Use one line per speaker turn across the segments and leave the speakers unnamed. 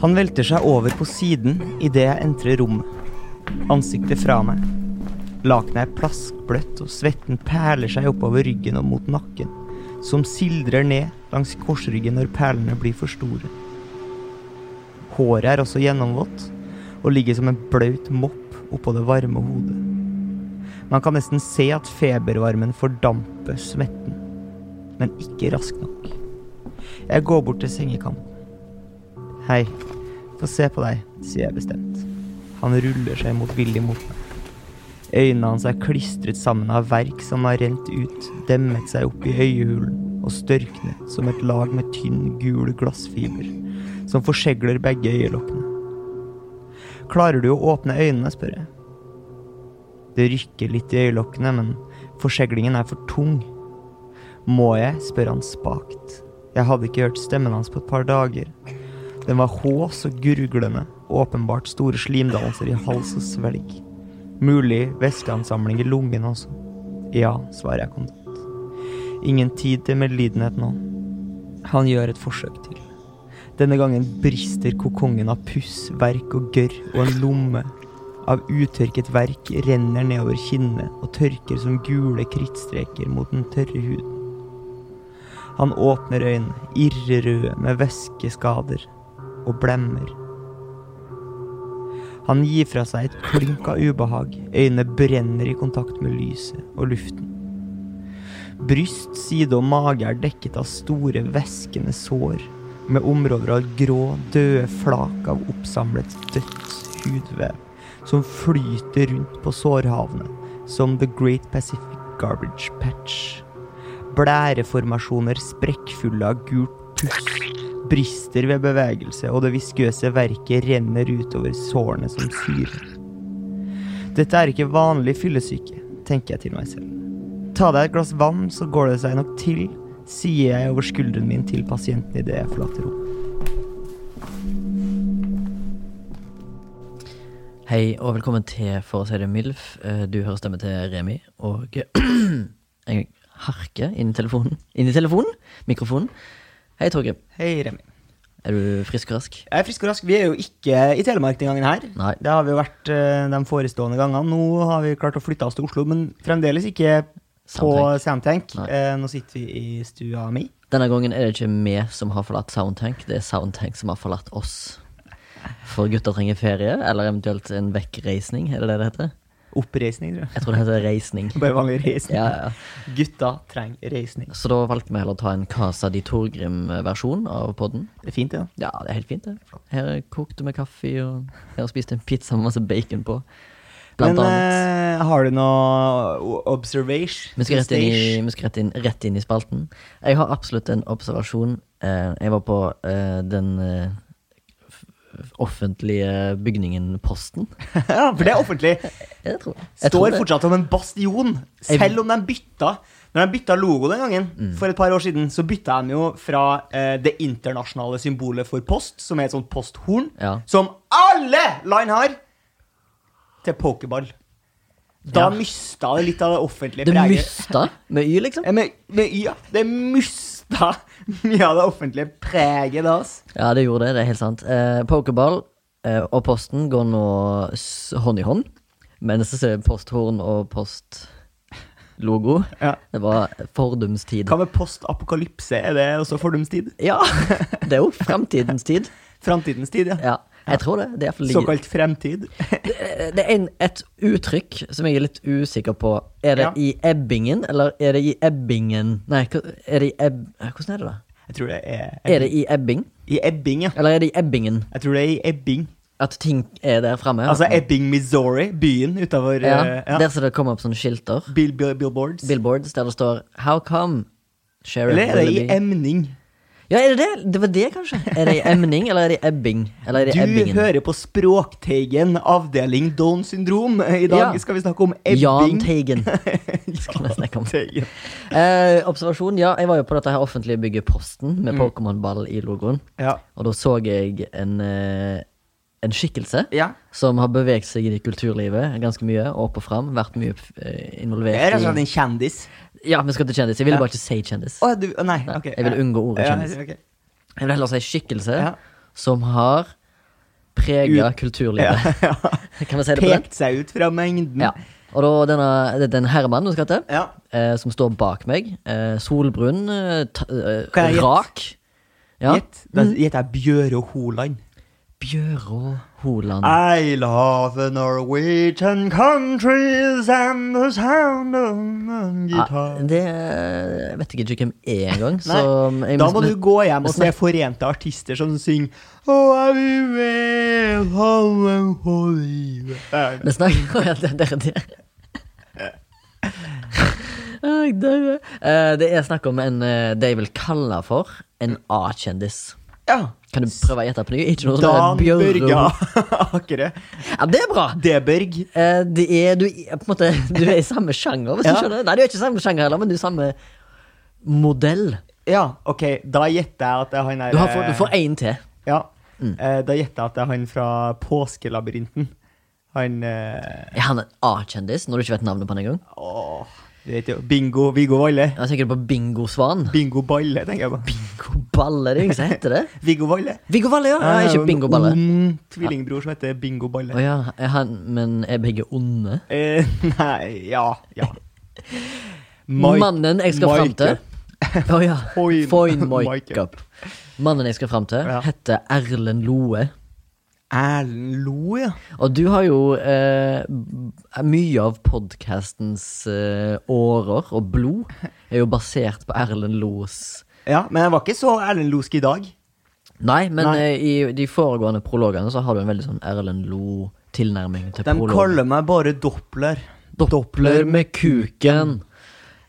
Han velter seg over på siden idet jeg entrer rommet. Ansiktet fra meg. Lakenet er plaskbløtt, og svetten perler seg oppover ryggen og mot nakken, som sildrer ned langs korsryggen når perlene blir for store. Håret er også gjennomvått og ligger som en blaut mopp oppå det varme hodet. Man kan nesten se at febervarmen fordamper svetten, men ikke raskt nok. Jeg går bort til sengekanten. Hei. Få se på deg, sier jeg bestemt. Han ruller seg motvillig mot meg. Øynene hans er klistret sammen av verk som har rent ut, demmet seg opp i øyehulen og størknet som et lag med tynn, gul glassfiber som forsegler begge øyelokkene. Klarer du å åpne øynene, spør jeg. Det rykker litt i øyelokkene, men forseglingen er for tung. Må jeg, spør han spakt. Jeg hadde ikke hørt stemmen hans på et par dager. Den var hås og gurglende, åpenbart store slimdannelser i hals og svelg. Mulig væskeansamling i lungene også. Ja, svarer jeg kontant. Ingen tid til medlidenhet nå. Han gjør et forsøk til. Denne gangen brister kokongen av puss, verk og gørr og en lomme av utørket verk renner nedover kinnene og tørker som gule krittstreker mot den tørre huden. Han åpner øynene, irrerøde med væskeskader og blemmer. Han gir fra seg et klynk av ubehag. Øynene brenner i kontakt med lyset og luften. Bryst, side og mage er dekket av store, væskende sår med områder av grå, døde flak av oppsamlet dødt hudvev som flyter rundt på sårhavene som The Great Pacific Garbage Patch. Blæreformasjoner sprekkfulle av gult puss brister ved bevegelse, og det viskøse verket renner utover sårene som syre. Dette er ikke vanlig fyllesyke, tenker jeg til meg selv. Ta deg et glass vann, så går det seg nok til, sier jeg over skulderen min til pasienten idet jeg forlater rommet.
Hei, og velkommen til For å si det MILF. Eh, Du hører stemme til Remi, og jeg harker inn i telefonen. Inn i telefonen? Mikrofonen. Hei, Torgrim.
Hei, Remi.
Er du frisk og rask?
Jeg er frisk og rask. Vi er jo ikke i Telemark den gangen her.
Nei.
Det har vi jo vært eh, de forestående gangene. Nå har vi klart å flytte oss til Oslo, men fremdeles ikke på Soundtank.
Nei.
Eh, Nå sitter vi i stua mi.
Denne gangen er det ikke vi som har forlatt Soundtank, det er Soundtank som har forlatt oss. For gutter trenger ferie, eller eventuelt en vekkreisning, er det det det heter?
Oppreisning, tror jeg.
Jeg tror det heter reisning.
Bare vanlig reisning.
Ja, ja.
Gutta trenger reisning.
Så da valgte vi heller å ta en Casa di Torgrim-versjon av podden.
Det er fint, det. da.
Ja, det er helt fint, det. Her kokte vi kaffe, og her spiste en pizza med masse bacon på. Blant
Men
annet.
eh, har du noe observation?
Vi skal rett inn, i,
Stage?
vi skal rett, inn, rett inn i spalten. Jeg har absolutt en observasjon. Eh, Jeg var på eh, den eh, f- f- offentlige bygningen Posten.
ja, for det er offentlig.
Jeg tror, jeg tror
Står
det.
fortsatt som en bastion,
Jeg- Mm.
selv om de bytta. Når de bytta logo den gangen, for et par år siden, så bytta de jo fra eh, det internasjonale symbolet for post, som er et sånt posthorn,
Ja.
som alle land har, til pokerball. Da
Ja.
mista det litt av det offentlige
Det
preget.
musta med Y, liksom.
Ja, men, men ja, det musta mye av det offentlige preget da, ass.
Ja, det gjorde det. Det er helt sant. Eh, Pokerball eh, og Posten går nå s- hånd i hånd. Mens det er posthorn og postlogo.
Ja.
Det var fordums tid.
Hva med postapokalypse? Er det også fordums tid?
Ja! Det er jo framtidens tid.
Framtidens tid, ja.
Ja, jeg tror det. Det er, i hvert fall ligge-
Såkalt fremtid.
Eh, det er en, et uttrykk som jeg er litt usikker på. Er det
Ja.
i ebbingen, eller er det i ebbingen Nei, hva- er det i ebb... Hvordan er det, da?
Jeg tror det er
Er det i ebbing?
i ebbing, ja.
Eller er det i ebbingen?
Jeg tror det er i ebbing.
At ting er der framme?
Altså Ebbing, Missouri, byen utafor eh,
ja,
ja.
Der som det kommer opp sånne skilter.
Bill, bill, Billboards.
Billboards der det står 'How come?' Sheriff
Eller er det i
Willoughby.
emning?
Ja, er det det? Det var det, kanskje? Er det i emning, eller er det i ebbing? Eller er det
Du
i ebbingen?
hører på Språkteigen, avdeling Down syndrom. I dag
Ja.
skal vi snakke om
Jahn
ebbing.
Teigen. Skal vi snakke om.
Teigen.
Eh, observasjon, ja. Jeg var jo på dette her offentlige bygget Posten med
Mm.
Pokémon-ball i logoen.
Ja.
Og da så jeg en, eh, en skikkelse
ja.
som har beveget seg i kulturlivet ganske mye. Opp og fram. Vært mye eh,
Jeg er rett og slett
involvert i
en kjendis.
Ja, vi skal til kjendis. Jeg ville
Ja.
bare ikke si kjendis.
Å, du, å, nei,
Nei,
ok.
jeg vil
Ja.
unngå ordet
Ja,
kjendis.
ok.
Jeg vil heller si skikkelse
Ja.
som har prega kulturlivet.
Ja.
Kan vi si det på den?
Pekt seg ut fra mengden.
Ja. Og da denne, det er den herremannen du skal til,
Ja.
eh, som står bak meg. Eh, solbrun, eh, ta, eh,
Kan jeg gjette?
rak. Ja. Mm.
Gjett. Da gjetter jeg Bjøro Holand.
Bjøro Holand.
I love the Norwegian countries and the sound of
Ah,
my
Ja,
guitar.
det eh, vet jeg ikke hvem er engang. så um,
Nei,
jeg
da
mis-
må du gå hjem og se
snakker-
forente artister som synger "Oh, «Å, jeg vil være sammen på livet». Nei,
Vi snakker om det, det, det. Ah, Jeg dauer. Eh, Det er snakk om en eh, det jeg vil kalle for en A-kjendis.
Ja.
Kan du prøve å gjette på ny? Ikke noe
Dan
sånn der Bjøro-
Børga Akere.
Ja, det er bra!
Deberg.
Eh, det er, du, er på en måte, du er i samme sjanger, hvis
Ja.
du skjønner. Nei, du er ikke samme sjanger heller, men du er samme modell.
Ja, OK, da gjetter jeg at det er han der
Du, har, fått- du får Mm. én til.
Ja. Eh, Da gjetter jeg at det er han fra Påskelabyrinten. Han eh,
Er han en A-kjendis, når du ikke vet navnet på han engang?
Åh, du vet jo Bingo Viggo Valle.
Jeg tenker på Bingo Svan.
Bingo Balle, tenker jeg på.
Bingo Balle, det er ingen som heter det.
Viggo Valle.
Viggo Valle, ja. ja ikke Bingo Balle.
En ung tvillingbror som heter Bingo Balle.
Å ja, er han, men er begge onde?
Eh, nei Ja. ja.
Mannen jeg skal fram til Å ja.
Foyn-
Foyn
Maikup.
Moikup. Mannen jeg skal fram til,
Ja.
heter Erlend Loe.
Erlend Lo, ja.
Og du har jo eh, b- Mye av podkastens eh, årer og blod er jo basert på Erlend Los
ja. Men jeg var ikke så Erlend Losk i dag.
Nei, men
Nei.
Eh, i de foregående prologene så har du en veldig sånn Erlend Lo-tilnærming til
De
prologen.
kaller meg bare Doppler.
Doppler med kuken.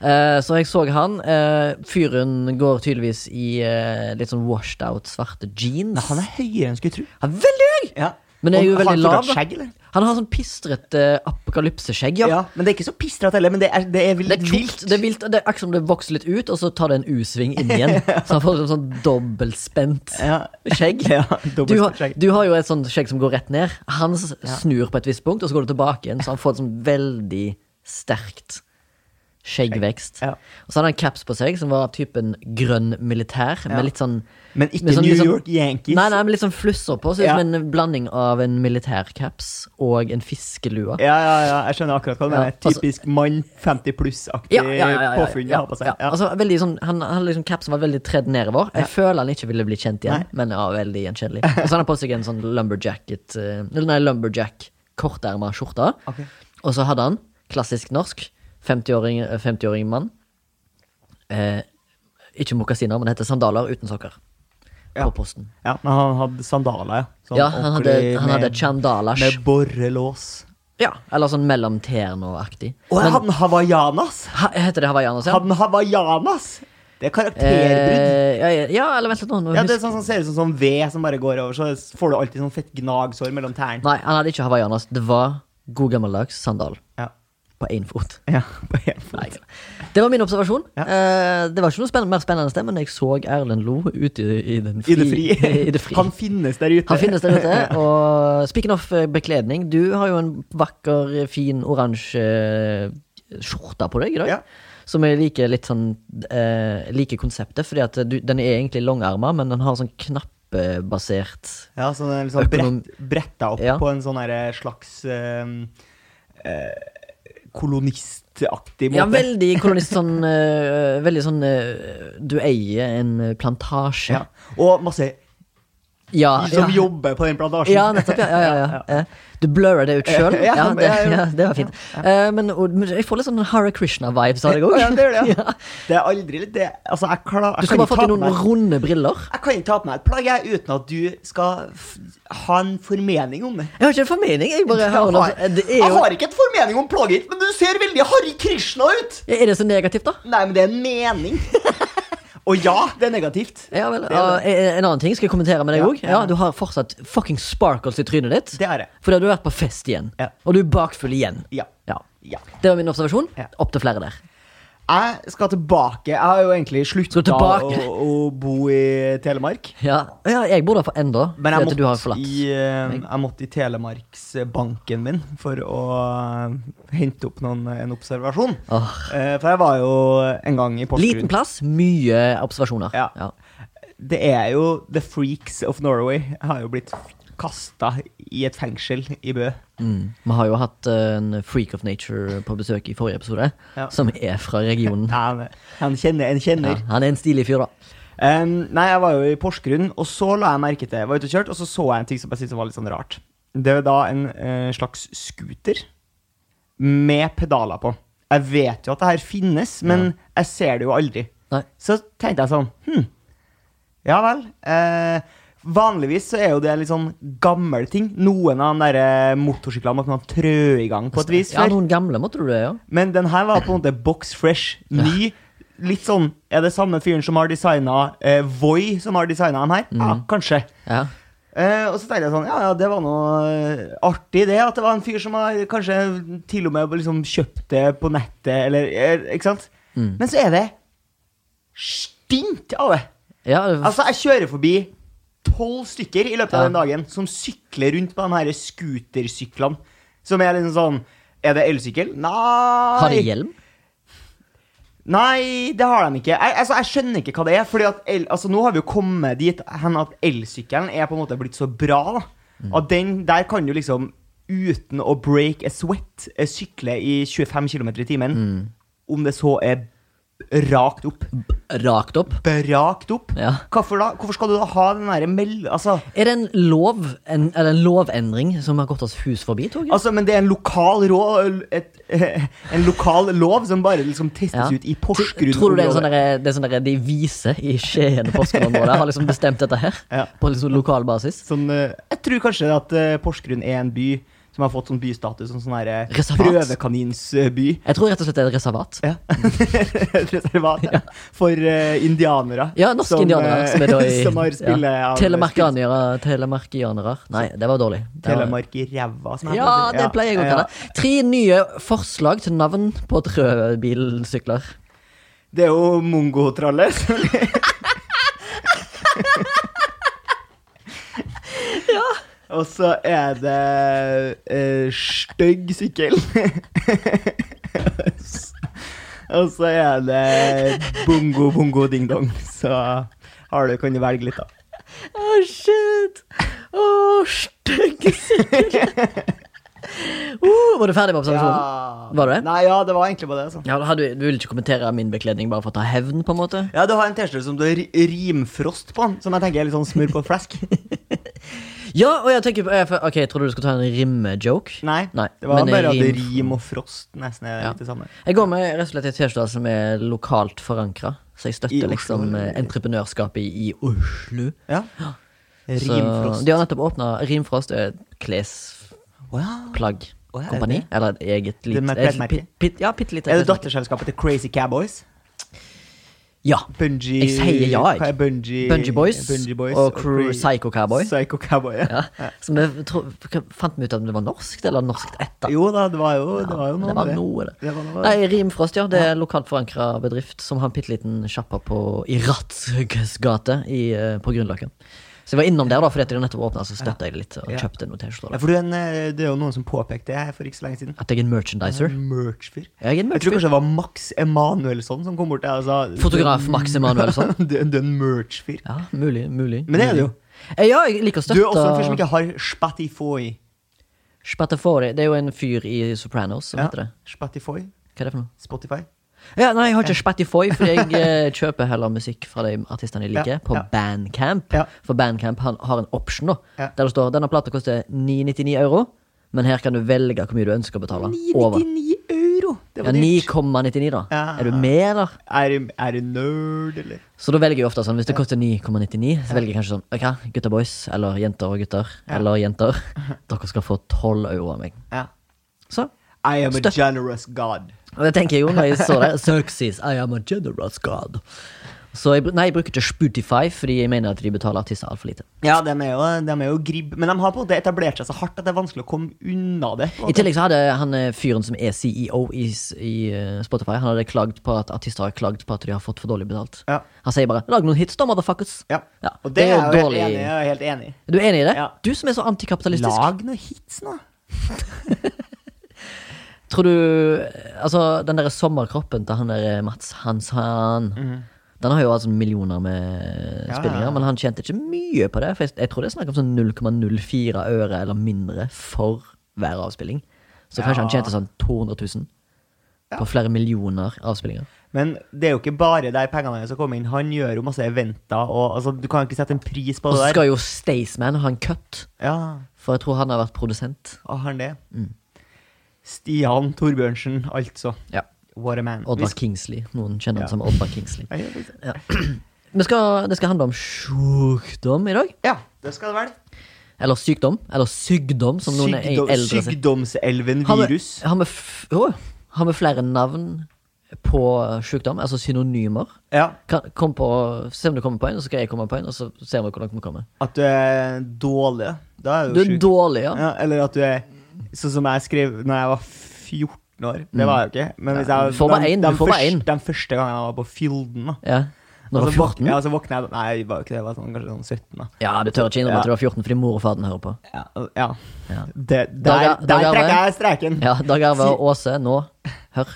Eh, så jeg så han. Eh, fyren går tydeligvis i eh, litt sånn washed out svarte jeans.
Han er høyere enn jeg skulle tro.
Han er veldig høy!
Ja.
Men det er jo
Og har
veldig
han
lav.
fortsatt
da.
Skjegg, eller?
Han har sånn pistrete apokalypseskjegg,
Ja.
ja.
men det er ikke så pistrete heller, men det er, det er
Det
litt
er
vilt.
tjukt. Det er vilt, og det er akkurat som det vokser litt ut, og så tar det en U-sving inn igjen. Så han får sånn, sånn dobbeltspent
Ja.
skjegg. Du
Ja,
har,
dobbeltspent skjegg.
du har jo et sånt skjegg som går rett ned. Hans snur på et visst punkt, og så går det tilbake igjen. Så han får et sånn veldig sterkt skjeggvekst.
Ja.
Og så hadde han caps på seg, som var typen grønn militær,
Ja.
med litt sånn
Men ikke
med sånn-
New
litt sånn-
York Yankees.
Nei, nei, men litt sånn flusser på. Så ut
Ja.
som en blanding av en militærcaps og en fiskelue.
Ja, ja, ja, jeg skjønner akkurat
Ja,
hva du mener.
altså-
Typisk mann 50 pluss-aktig
Ja, ja, ja, ja, ja,
påfunn å
ja,
ha på seg.
ja.
Ja.
Altså, veldig sånn, han han hadde liksom caps som var veldig tredd nedover. Jeg føler han ikke ville bli kjent igjen, men ja, veldig gjenkjennelig. Og så har han på seg en sånn lumberjacket eh, eller Nei, lumberjack korterma skjorte.
Ok.
Og så hadde han, klassisk norsk, 50-åring 50 mann eh, Ikke mokasiner, men det heter sandaler uten sokker.
Ja.
På posten.
Ja, men han hadde sandaler, ja. Sånn
Ja, han hadde,
ordentlig
han hadde
med-
chandalas.
Med borrelås.
Ja, eller sånn mellom tærne-aktig.
Å, jeg hadde en hawaiianas!
Heter det hawaiianas? ja?
Hadde en hawaiianas! Det er karakterbrudd.
Eh, ja, ja, ja, eller vent litt nå. nå
ja, det
husker-
er sånn som ser ut som sånn ved som bare går over, så får du alltid sånn fett gnagsår mellom tærne.
Nei, han hadde ikke hawaiianas. Det var god gammeldags sandal
Ja.
på én fot.
ja, på en
Nei,
fot.
ikke det. det var min observasjon.
Ja.
Eh, det var ikke noe spennende, mer spennende sted, men jeg så Erlend Lo ute i, i den fri.
I det fri.
i det fri.
Han
Han,
finnes der ute.
finnes der ute. Og speaking of eh, bekledning, du har jo en vakker, fin oransje eh, skjorte på deg i dag.
Ja.
Som jeg liker litt sånn eh, Liker konseptet, fordi at du, den er egentlig langarma, men den har sånn knappebasert
Ja, så den er liksom
Økonom-
brett, bretta opp
Ja.
på en sånn her slags ehm, eh, kolonistaktig måte.
Ja, veldig kolonist sånn øh, Veldig sånn øh, Du eier en øh, plantasje.
Ja. Og masse
ja,
som
Ah, ja.
jobber på den plantasjen.
Ja, nettopp. Ja, ja, ja, ja. Eh, Du blurrer det ut sjøl.
Ja,
Ja, det,
ja, ja.
ja, det var fint. Eh, Men, og, men jeg får litt sånn Hare Krishna-vibes av deg òg.
Ja, det gjør det, ja. Det er aldri litt det Altså, jeg, klar,
Du
jeg,
skal
kan
bare
ikke
få
ta
til
på
noen
meg,
runde briller.
jeg kan ikke ta på meg et plagg jeg, uten at du skal f ha en formening om det.
Jeg har ikke en formening. Jeg bare
Jeg
hører noe.
har,
som- altså, eh, Det er jo
jeg har ikke et formening om plagget ditt, men du ser veldig Harry Krishna ut!
Er det så negativt, da?
Nei, men det er en mening. Og ja, det er negativt.
Ja, vel,
er
ja, En annen ting skal jeg kommentere med deg
Ja,
òg. Ja, du har fortsatt fucking sparkles i trynet ditt.
Det er det.
Fordi du har vært på fest igjen.
Ja.
Og du er bakfull igjen.
Ja.
Ja.
ja.
Det var min observasjon.
Ja.
Opp til flere der.
Jeg skal tilbake. Jeg har jo egentlig slutta
Skal du
å,
tilbake?
å bo i Telemark.
Ja, ja jeg bor der for enda.
Men
fordi
jeg
at du har
måtte,
forlatt.
i, eh, jeg måtte i Telemarksbanken min for å eh, hente opp noen, en observasjon.
Åh.
Eh, For jeg var jo en gang i
Liten
Porsgrunn.
plass, mye observasjoner.
Ja. Det er jo The Freaks of Norway. Jeg har jo blitt kasta i et fengsel i Bø.
Mm. Vi har jo hatt eh, en freak of nature på besøk i forrige episode,
Ja.
som er fra regionen.
Han, han kjenner
Mm.
en
Ja,
kjenner.
han er en stilig fyr, da.
Um, nei, jeg var jo i Porsgrunn, og så la jeg merke til Jeg var ute og kjørte, og så så jeg en ting som jeg syntes var litt sånn rart. Det var da en eh, slags scooter med pedaler på. Jeg vet jo at det her finnes, men jeg ser det jo aldri.
Nei.
Så tenkte jeg sånn Hm, ja vel. eh, vanligvis så er jo det litt sånn gammel ting. Noen av de der eh, motorsyklene måtte man trø i gang på et vis
Ja,
før.
noen gamle måtte du det, ja.
Men den her var på en måte box fresh. Ny. Litt sånn Er det samme fyren som har designa eh, Voi, som har designa den her? Ja, kanskje.
ja.
Eh, og så tenkte jeg sånn Ja, ja, det var noe eh, artig, det. At det var en fyr som har kanskje til og med liksom kjøpt det på nettet, eller eh, Ikke sant? Men så er det stint av det.
ja det-
Altså, jeg kjører forbi tolv stykker i løpet av
Ja.
den dagen som sykler rundt på de her scootersyklene. Som er liksom sånn Er det elsykkel? Nei.
har de hjelm?
Nei, det har de ikke. Jeg, altså, jeg skjønner ikke hva det er. Fordi at el, altså, Nå har vi jo kommet dit hen at elsykkelen er på en måte blitt så bra. da.
Mm.
At den der kan du liksom, uten å break a sweat, eh, sykle i 25 km i timen.
Mm.
Om det så er rakt opp.
Rakt opp?
Brakt opp?
Ja.
Hvorfor, da? Hvorfor skal du da ha den derre meld... Altså,
Er det en lov en, Eller en lovendring som har gått oss hus forbi, Torgeir?
altså, men det er en lokal rå... Et, en lokal lov som bare liksom testes
Ja.
ut i Porsgrunn.
Tror du det er en sånn derre- det er sånn derre de vise i Skien og Porsgrunn-området har liksom bestemt dette her?
Ja.
På liksom lokal basis?
Sånn, eh, jeg tror kanskje at eh, Porsgrunn er en by som har fått sånn bystatus som sånn her, eh,
Reservat.
prøvekaninsby.
Jeg tror rett og slett det er et reservat.
Ja. Et Reservat ja. for eh, indianere.
Ja, norske
som,
indianere.
eh,
Som er da i
som har spillet
ja.
av
Telemarkianere. Telemarkianere. Nei, det var dårlig. Det var-
Telemark i ræva. som heter.
Ja, det pleier jeg å kalle
ja.
det. Tre nye forslag til navn på trøbilsykler.
Det er jo mongotralle. Og så er det eh, stygg sykkel. Og så er det bongo, bongo, ding dong. Så har du, kan du velge litt, da.
Å, shit! Å, stygge sykler! Uh, var du ferdig med observasjonen? Sånn. Var det?
Nei, ja, det var egentlig bare det. Altså.
Ja, da hadde, du ville ikke kommentere min bekledning bare for å ta hevn, på en måte?
Ja, du har en T-skjorte som du har ri- rimfrost på, som jeg tenker er litt sånn smør på flesk.
Ja, og jeg tenker på jeg, Ok, jeg trodde du skulle ta en rimmejoke.
Nei,
Nei,
det var
men
bare at
rim-
rim og frost nesten er
Ja.
litt det samme.
Jeg går med rett og slett i T-skjorte som er lokalt forankra. Så jeg
I
støtter
Oslo,
liksom eh,
eller?
entreprenørskapet i i Oslo.
Ja.
Så
Rimfrost.
de har nettopp åpna Rimfrost er et klesplagg.
Wow. Å, ja, er
Kompani?
det?
Eller et eget
Det
lite
med
et
klesmerke?
pit- pit- Ja, bitte lite.
Er det
klesmerke.
datterselskapet til Crazy Cowboys?
Ja.
Bungee
Jeg sier ja, jeg.
Hva er Bungee,
Bungee Boys,
Bungee Boys
og Cru-
Cra-
Psycho Cowboy.
Psycho Cowboy, ja.
ja. Så vi tro, fant vi ut om det var norsk, eller norsk etter.
Jo da, det var jo, det var jo noe
det var
med
noe, det.
Det var noe.
Nei, Rimfrost, ja. Det er lokalt forankra bedrift som har en bitte liten sjappa på- i Rattsøkes gate i, eh, på Grünerløkken. Så jeg var innom der, da, fordi at de nettopp åpna, så støtta jeg det litt og
Ja.
kjøpte noen
Ja,
T-skjorter.
for du, er en, eh, det er jo noen som påpekte det her for ikke så lenge siden.
At jeg er en merchandiser.
Merch-fyr.
Mm. Jeg er en
Jeg tror
merch-fyr.
kanskje det var Max Emanuelsson som kom bort til deg og sa du-
Fotograf Max Emanuelsson.
Du du er en merch-fyr.
Ja, mulig, mulig.
Men det er det jo.
Eh, Ja, jeg liker å støtte
Du er også en fyr som ikke har spatifoy.
Spatafori. Det er jo en fyr i Sopranos som heter det.
Spatifoy?
Hva er det for noe?
Spotify?
Ja, nei, jeg har ikke Spatifoy, for jeg eh, kjøper heller musikk fra de artistene jeg liker,
Ja,
på
ja.
Bandcamp.
Ja.
For Bandcamp har, har en option, da.
Ja.
Der det står denne plata koster 999 euro, men her kan du velge hvor mye du ønsker å betale. Over.
999 euro! Det
Ja,
var dyrt.
9,99, da.
Ja.
Er du med, eller?
Er, er du nerd, eller?
Så da velger jeg ofte sånn, hvis det koster 9,99, så velger jeg kanskje sånn Ok, gutta boys, eller jenter og gutter, eller jenter. Dere skal få 12 euro av meg.
Ja.
Så.
I am a
Støtt.
generous god.
Og det tenker jeg jo når jeg så det. Xerxes, I am a generous god. Så jeg, br- nei, jeg bruker ikke Spotify, fordi jeg mener at de betaler artistene altfor lite.
Ja, de er, jo, de er jo gribb, men de har på en måte etablert seg så hardt at det er vanskelig å komme unna det.
I
på en måte.
tillegg så hadde han eh, fyren som er CEO i, s- i eh, Spotify, han hadde klagd på at artister har klagd på at de har fått for dårlig betalt.
Ja.
Han sier bare 'lag noen hits, da, motherfuckers'.
Ja.
Ja,
Og det, er jeg jo helt
dårlig-
enig, i, jeg er helt enig. i.
Du er enig i det?
Ja.
Du som er så antikapitalistisk.
Lag noen hits nå.
Tror du Altså, den der sommerkroppen til han der eh, Mats Hanshan Den har jo altså millioner med
Mhm. Ja,
spillinger,
ja.
men han tjente ikke mye på det. For jeg, jeg tror det er snakk om sånn 0,04 øre eller mindre for hver avspilling. Så kanskje han
Ja.
tjente sånn 200 000 på flere millioner avspillinger.
Men det er jo ikke bare der pengene hans kommer inn. Han gjør jo masse eventer, og altså, du kan ikke sette en pris på
Og så
det der.
skal jo Staysman ha en cut,
Ja,
for jeg tror han har vært produsent.
og har han det? Stian Torbjørnsen, altså.
Ja.
What a man. Vi
Oddvar
sk-
Kingsley. Noen kjenner
Ja.
han som Oddvar Kingsley.
Ja, ja, faktisk.
Vi skal, det skal handle om sjukdom i dag.
Ja, det skal det være.
Eller sykdom. Eller sykdom, som noen er
Sykdom,
eldre sier.
sykdomselven
Har vi-
virus.
Har vi, f Åh, har vi flere navn på sykdom? Altså synonymer?
Ja,
Kan, kom på, se om du kommer på en, og så skal jeg komme på en. Og så ser vi hvor langt vi kommer.
At du er dårlig. Da er
Du
du
er
sjuk.
dårlig, ja.
Ja, eller at du er Sånn som jeg skrev Når jeg var 14 år. Det var jeg jo ikke. Men hvis
Mm. Ja,
jeg,
du får bare en,
de,
du får bare
første,
en.
de første gangen jeg var på Fylden da.
ja. Når du var
Og så våk-
14?
Altså, Ja, så våkna jeg Nei, jeg var jo ikke det. Jeg var sånn, kanskje sånn 17. da.
Ja, du tør ikke innrømme at
Ja.
du var 14 fordi mor og far den hører på.
Ja. ja.
Ja.
Det, der
Dag-
der
Dag
trekker
Arve.
jeg streken.
Ja, Dag Arve og Åse, nå. Hør.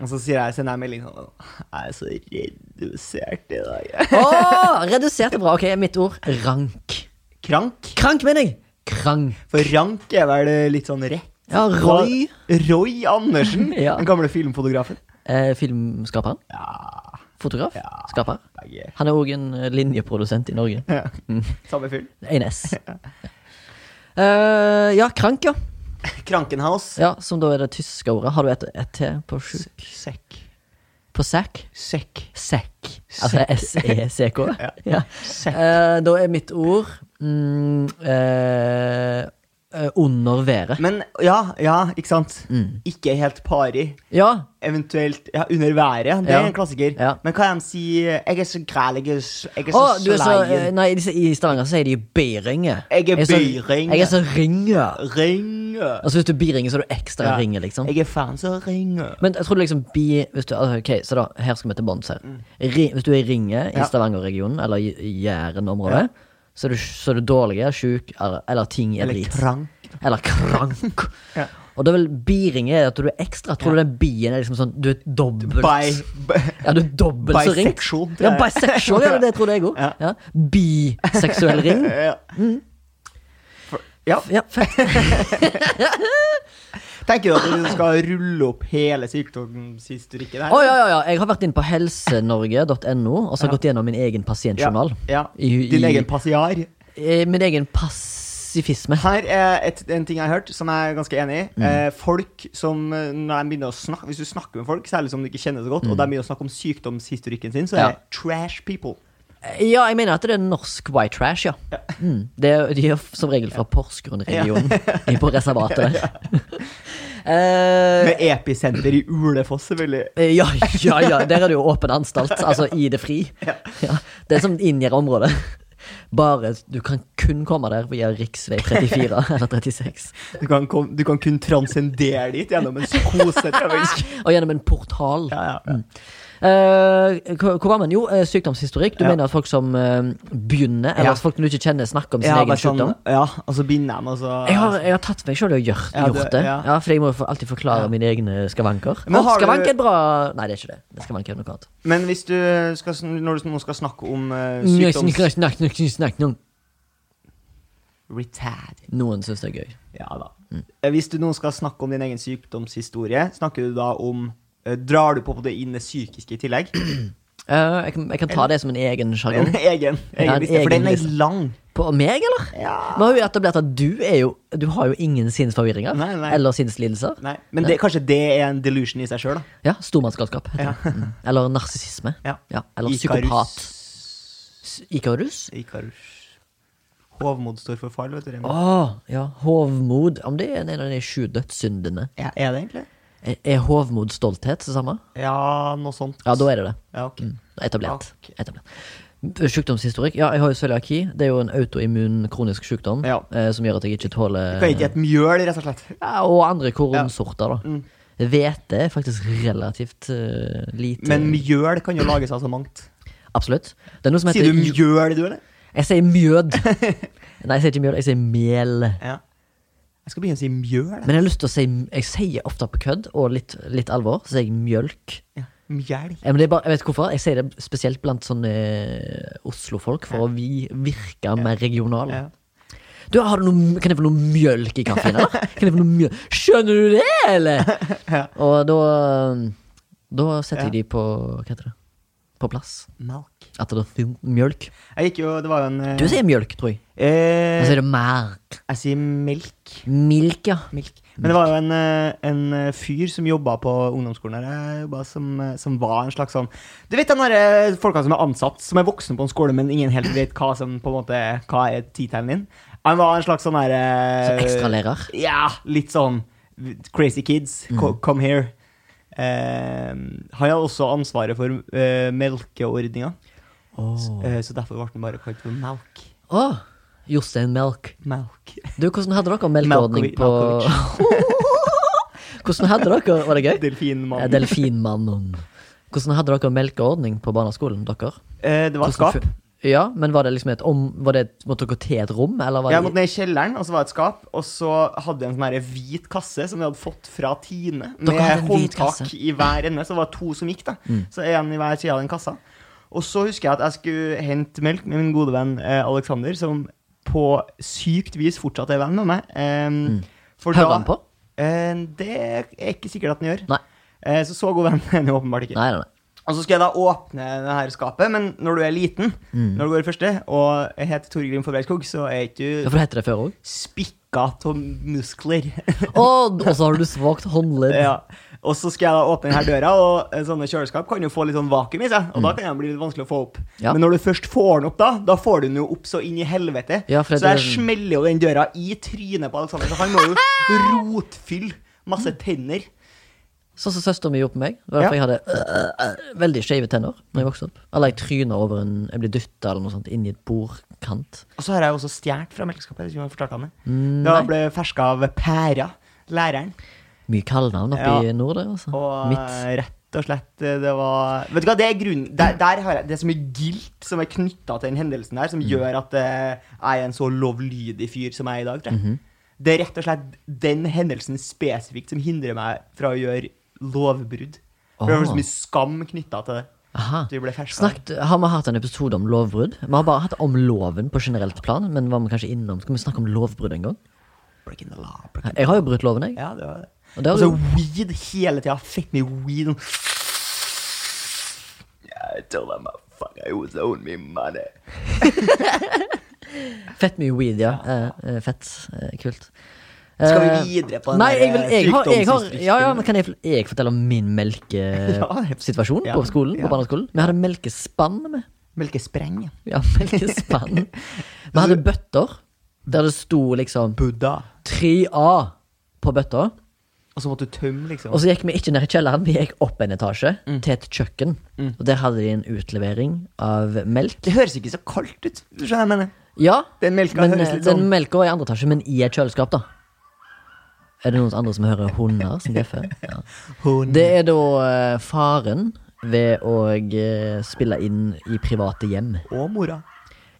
Og så sier jeg, sender jeg en melding sånn Jeg er så redusert i dag.
Å, redusert er bra. Ok, mitt ord. Rank.
Krank.
Krank, mener jeg! Krank.
For rank er vel litt sånn rett.
Ja, Roy.
Roy Andersen.
Ja.
Den gamle filmfotografen.
Eh, filmskaperen.
Ja,
Fotograf. Skaper.
begge.
Han er òg en eh, linjeprodusent i Norge.
Ja. Samme fyren.
En S. Eh, ja, krank, ja.
Krankenhaus.
ja. Som da er det tyske ordet. Har du et, et til på sju?
Sekk.
På sekk?
Sekk.
Sekk. Altså S-E-C-K.
Ja.
Ja.
Sekk.
Eh, da er mitt ord mm, eh, eh, under været.
Men ja, ja, ikke sant?
Mm.
Ikke helt pari.
Ja.
Eventuelt ja, under været. Det
Ja.
er en klassiker.
Ja.
Men hva er de sier Jeg er så græl, jeg er så, jeg er
Å,
så
du er så eh,
sleien.
Nei, i disse- i Stavanger så sier de biringe.
Jeg er
så-
biringe.
Jeg er så ringe.
Ringe.
Altså hvis du er biringe, så er du ekstra
Ja.
ringe, liksom.
Jeg er faen så ringe.
Men jeg tror du liksom bi hvis du, altså, Ok, så da, her skal vi til bonds her. Ri, hvis du er i Ringe i
Mm. Ja.
Stavanger-regionen, eller i- i Jæren-området, så, er du- så er du dårlig, sjuk, eller, eller ting er
Eller
drit.
krank.
Eller krank.
Ja.
Og da vil biringe er at du er ekstra. Tror du den bien er liksom sånn Du er dobbelt
By, by,
Ja, du er dobbelt så ring.
bisexual. tror
Ja,
jeg.
bisexual, ja, det trodde jeg òg.
Ja.
Ja. Biseksuell ring.
Ja.
Mm.
For- ja.
Ja, fett.
Tenker du at du skal rulle opp hele sykdomshistorikken her?
Å, ja, ja, ja. Jeg har vært inne på helsenorge.no og så har jeg gått gjennom min egen pasientjournal.
Ja.
I- i-
Din egen passiar.
Eh, Min egen pasifisme.
Her er et, en ting jeg har hørt, som jeg er ganske enig i.
Mm.
Eh, folk som, eh, når de begynner å snakke Hvis du snakker med folk, særlig som du ikke kjenner så godt, og de begynner å snakke om sykdomshistorikken sin, så er
Mm. Ja.
det trash people.
Ja, jeg mener at det er norsk white trash, ja. Mm. Det er, de er som regel fra Porsgrunn-regionen. De er på reservatet der. Eh,
Med episenter i Ulefoss, selvfølgelig.
ja, ja, ja. Der er det jo åpen anstalt. Altså i det fri. Ja, det er som inngjerder område. Bare Du kan kun komme der via rv. 34 eller 36.
Du kan, kom, du kan kun transcendere dit gjennom en psykose.
Og gjennom en portal.
Ja, ja,
Mm.
ja.
Eh, hva hva var man? Jo, eh, sykdomshistorikk. Du
Ja.
mener at folk som eh, begynner, eller
Ja.
at folk du ikke kjenner, snakker om sin
Ja,
egen
bare sånn,
sykdom?
ja, og så binder de, altså. og så
Jeg har, jeg har tatt meg sjøl og gjort,
Ja, du-
gjort det. Ja.
ja.
For jeg må jo for- alltid forklare mine egne skavanker.
Men
Å,
har du-
skavank er et bra Nei, det er ikke det. det er skavank er noe annet.
Men hvis du skal, sn- når du nå skal snakke om eh,
Snakk,
sykdoms...
snakk, snakk, snakk, snakk, noen.
Retard.
Noen syns det er gøy.
Ja da.
Mm.
Eh, Hvis du nå skal snakke om din egen sykdomshistorie, snakker du da om eh, Drar du på det inn det psykiske i tillegg?
Eh, jeg, kan, jeg kan ta det som en egen
En
sjargong.
egen,
Ja, en
egen liste, for
egen
den er
liste.
lang.
På meg, eller?
Ja.
Vi har jo etablert at du er jo Du har jo ingen sinnsforvirringer
Nei, nei.
eller sinnslidelser.
Nei, men det, kanskje det er en delusion i seg sjøl, da.
Ja, Stormannsgalskap. heter det. Mm. Eller narsissisme.
Ja.
Eller
Ikarus-
psykopat. S- Ikarus?
Ikarus. Hovmod står for fall, vet du. Remi.
Å, ja. Hovmod. Om det er en av de sju dødssyndene.
Ja, er det egentlig?
Er- Er hovmod stolthet det samme?
Ja, noe sånt.
Ja, da er det det.
Ja, ok.
Etablert.
Ok.
Etablert. Sjukdomshistorikk? Ja, jeg har jo cøliaki. Det er jo en autoimmun kronisk sjukdom
Ja.
eh, som gjør at jeg ikke tåler
Kan ikke et mjøl, rett og slett.
ja, Og andre kornsorter, da.
Mm.
Hvete er faktisk relativt eh, lite
Men mjøl kan jo lages av så mangt.
Absolutt. Det er noe som
Sier
heter
du mjøl, du, eller?
Jeg sier mjød. Nei, jeg sier ikke mjød, jeg sier mel.
Ja. Jeg skal begynne å si mjøl. jeg.
Men jeg har lyst til å si Jeg sier ofte på kødd og litt, litt alvor, så sier jeg mjølk.
Ja. Mjelk.
Eh, Men det er bare, jeg vet ikke hvorfor. Jeg sier det spesielt blant sånne eh, Oslo-folk, for å vi virke mer regionale.
Ja.
Du, har du noe, kan jeg få noe mjølk i kaffen, eller? Kan jeg få noe mjølk? Skjønner du det, eller? Og da Da setter jeg de på Hva heter det? På plass.
Melk.
At det er mjølk.
Jeg gikk jo Det var jo en eh,
Du sier mjølk, tror jeg. Jeg
eh,
sier det merk.
Jeg sier melk.
Milk, ja.
Milk. Men det var jo en, eh, en eh, fyr som jobba på ungdomsskolen der, jeg jobbet som, eh, som var en slags sånn Du vet de derre folka som er ansatt, som er voksne på en skole, men ingen helt vet hva som på en måte Hva er tittelen din? Han var en slags sånn derre
Som ekstralærer.
Ja, litt sånn Crazy kids, co-
Mhm.
come here. Eh, han hadde også ansvaret for uh, melkeordninga,
Åh.
eh, så derfor ble han bare kalt for Melk.
Jostein Melk.
Melk.
Du, hvordan hadde dere melkeordning
Malkovi-
på Hvordan hadde dere Var det gøy? Eh,
Delfinmannen.
Delfinmannen. Hvordan hadde dere melkeordning på barneskolen? dere?
Eh, det var et
Hvordan
skap.
fu- Ja, men var det liksom et om... Var det, et- måtte dere til et rom, eller var
Jeg måtte
det
ned i kjelleren, og så var det et skap. Og så hadde jeg en sånn her hvit kasse som vi hadde fått fra Tine.
hadde en
Med
hvit kasse?
håndtak i hver ende. Så det var to som gikk, da. Så en i hver side av den kassa. Og så husker jeg at jeg skulle hente melk med min gode venn eh, Alexander, som på sykt vis fortsatt er venn med meg. Um, for
Hører
da-
han på?
Eh, det er ikke sikkert at han gjør.
Nei.
Eh, så så god venn er han jo åpenbart ikke.
Nei, nei, nei.
Og så skal jeg da åpne det her skapet, men når du er liten,
Mm.
når du går i første, og jeg heter Torgrim Forbergskog, så er ikke du
Ja, for det heter det før òg.
spikka av muskler.
Og så har du svakt håndledd.
ja. Og så skal jeg da åpne denne døra, og eh, sånne kjøleskap kan jo få litt sånn vakuum i seg. Og da kan den bli litt vanskelig å få opp.
Mm. Ja.
Men når du først får den opp, da, da får du den jo opp så inn i helvete.
Ja, for det
så jeg
er- sånn-
smeller jo den døra i trynet på Alexander, så han må jo rotfylle masse tenner.
Sånn som søsteren min gjorde på meg. Det var derfor jeg
Ja.
hadde øh, øh, veldig skjeve tenner Når jeg vokste opp. Eller jeg tryna over en Jeg ble dytta eller noe sånt inn i et bordkant.
Og så har jeg også stjålet fra melkeskapet. Jeg vet ikke om jeg fortalte om det.
Mm,
Da ble jeg ferska av pæra, læreren.
Mye kallenavn oppe
Ja.
i nord der, altså.
Og
Mitt.
eh, rett og slett eh, det var Vet du hva, det er grunnen Der, der har jeg det er så mye gilt som er knytta til den hendelsen der,
Mm.
som gjør at eh, jeg er en så lovlydig fyr som jeg er i dag, tror
Mhm.
jeg. Det er rett og slett den hendelsen spesifikt som hindrer meg fra å gjøre lovbrudd. For Det
Ah.
var så mye skam knytta til det.
Aha.
At vi ble ferska.
Snakket, har vi hatt en episode om lovbrudd? Vi har bare hatt om loven på generelt plan, men var vi kanskje innom Skal vi snakke om lovbrudd en gang?
Breaking the law, breaking
Jeg har jo brutt loven, jeg.
Ja, det var det.
Og det har
Altså,
du-
weed hele tida. Fett mye weed. sånn. Yeah, I told that motherfucker he was owing me money.
Fett mye weed, ja. Eh, eh, fett. Eh, kult.
Skal vi
Eh,
videre på den
Nei,
der, eh,
jeg, vil, jeg, har, jeg har
sykdomshistorikken?
Ja, ja, men kan jeg, få- jeg fortelle om min melkesituasjon
Ja,
på skolen?
ja.
På barneskolen? Vi hadde melkespann med.
Melkespreng.
Ja, melkespann. Vi hadde bøtter der det sto liksom
Buddha.
3A på bøtta.
Og så måtte du tømme, liksom.
Og så gikk vi ikke ned i kjelleren, vi gikk opp en etasje
Mm.
til et kjøkken. Og der hadde de en utlevering av melk.
det høres ikke så kaldt ut. Du skjønner hva jeg mener.
Ja,
Den melka
men
høres
eh,
litt
den
sånn
melka var i andre etasje, men i et kjøleskap, da. Er det noen andre som hører hunder som bjeffer? Ja.
Hun-
Det er da eh, faren ved å eh, spille inn i private hjem.
Og mora.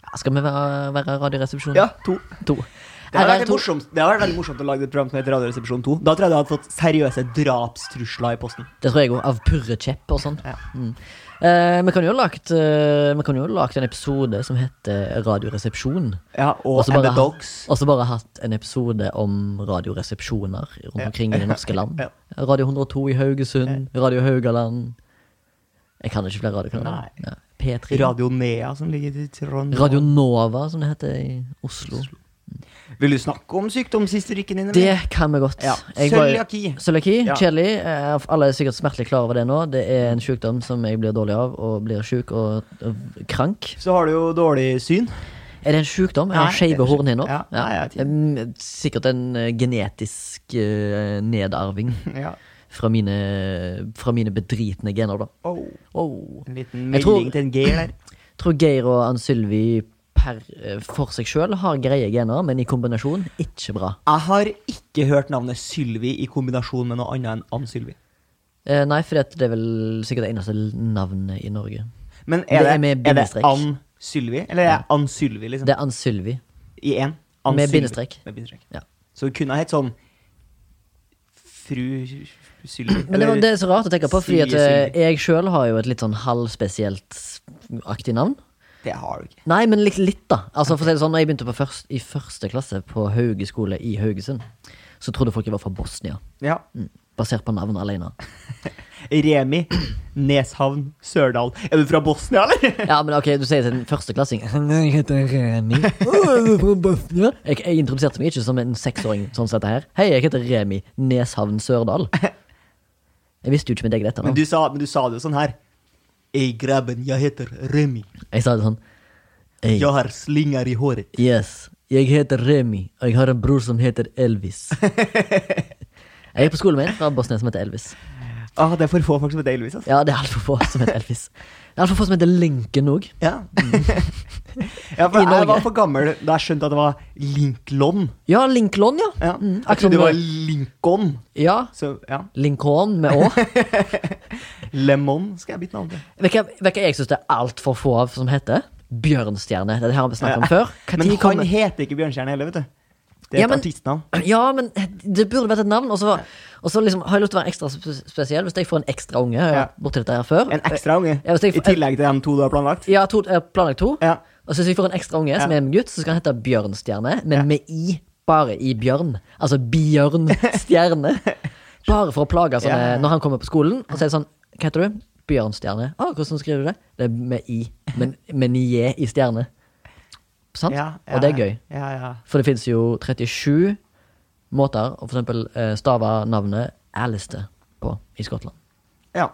Ja, skal vi være, være Radioresepsjonen?
Ja, to.
To.
Det har, vært
RR2.
morsomt, det har vært veldig morsomt å lage et program som heter Radioresepsjon 2. Da tror jeg du hadde fått seriøse drapstrusler i posten.
Det tror jeg òg. Av purrekjepp og sånn.
Ja.
Mm. Eh, vi kan jo ha lagt, eh, vi kan jo ha lagt en episode som heter Radioresepsjon.
Ja, og
så bare
And the
ha-
Dogs.
og så bare hatt en episode om radioresepsjoner rundt omkring i det norske land.
Ja.
Radio 102 i Haugesund, Radio Haugaland Jeg kan ikke flere radiokanaler.
Nei.
Ja. P3.
Radio Nea, som ligger i Trondheim.
Radio Nova, som det heter i Oslo.
Vil du snakke om sykdomshistorikken din? eller?
Det kan vi godt.
Ja.
Jeg var-
Cøliaki.
Cøliaki.
Ja.
Kjedelig. Eh, Alle er sikkert smertelig klar over det nå. Det er en sykdom som jeg blir dårlig av, og blir sjuk og og krank.
Så har du jo dårlig syn.
Er det en sykdom? Jeg har
Nei, det er
skeive
en syk-
hornhinner.
Ja, nei, jeg vet ikke.
Mm, Sikkert en eh, genetisk eh, nedarving.
Ja.
fra mine, fra mine bedritne gener, da.
Oh,
Oh.
en liten
Jeg tror-
melding til en Geir der.
Tror Geir og Ann Sylvi per, eh, for seg sjøl har greie gener, men i kombinasjon ikke bra.
Jeg har ikke hørt navnet Sylvi i kombinasjon med noe annet enn Ann-Sylvi.
Eh, nei, for det er vel sikkert det eneste navnet i Norge.
Men er
Det
det,
er med
er det
bindestrek.
Ann-Sylvi, eller er det Ann-Sylvi, liksom?
Det er Ann Sylvi.
I én?
Med
Sylvi.
bindestrek.
Med bindestrek.
Ja.
Så hun kunne ha hett sånn Fru Sylvi.
Men det, var- det er så rart å tenke på, fordi at
Sylvi,
eh, jeg sjøl har jo et litt sånn halvspesielt aktig navn.
Det har du ikke.
Nei, men litt, litt da. Altså, for å si det sånn, når jeg begynte på først, i første klasse på Hauge skole i Haugesund, så trodde folk jeg var fra Bosnia. Mm.
Ja.
Basert på navnet alene.
Remi Neshavn Sørdal. Er du fra Bosnia, eller?
Ja, men ok, du sier til en førsteklassing Jeg heter Remi. Å, er du fra Bosnia? Jeg, jeg introduserte meg ikke som en seksåring sånn som dette her. Hei, jeg heter Remi Neshavn Sørdal. Jeg visste jo ikke mitt eget
Men
etternavn.
du sa, men du sa det jo sånn her. Ei, grabben, jeg heter Remi.
Jeg sa det sånn. Hey,
Jeg har slinger i håret.
yes, jeg heter Remi, og jeg har en bror som heter Elvis. Jeg er på skolen min fra Bosnia som heter Elvis.
Ah, det er for få folk som heter Elvis. Altså.
Ja, det er altfor få som heter Elvis. Det er altfor få som heter Lincoln òg.
Ja. ja, for
I
jeg var
Norge.
for gammel da jeg skjønte at det var Linklon.
Ja, Lincoln, ja.
Ja.
Mm,
jeg
akkurat
trodde det var
som-
Lincoln.
ja.
Så ja,
Lincoln med Å.
Lemon skal jeg bytte navn til.
Vet du hva jeg syns det er altfor få av som heter? Bjørnstjerne. Det her har vi snakket om før. Hva
Men
tid
han
kommer-
heter ikke Bjørnstjerne heller, vet du. Det er
Ja,
et
men-
artistnavn.
Ja, men det burde vært et navn. Og så og så liksom, har jeg lyst til å være ekstra sp- spesiell. Hvis jeg får en ekstra unge jeg har
Ja.
vært borti dette her før
En ekstra unge.
Ja, hvis jeg
I
får-
tillegg til de to du har planlagt.
Ja, to, eh, planlagt to.
Ja.
Og så hvis vi får en ekstra unge som
Ja.
er en gutt, så skal han hete Bjørnstjerne, men med i. Bare i bjørn. Altså Bjørnstjerne. Bare for å plage sånne
Ja.
Når han kommer på skolen, og så er det sånn Hva heter du? Bjørnstjerne. Å, hvordan skriver du det? Det er med i. Men med nie i stjerne. Sant?
Ja, ja,
og det er gøy.
Ja, ja.
For det fins jo 37 måter å for eksempel eh, stave navnet Alistair på i Skottland.
Ja.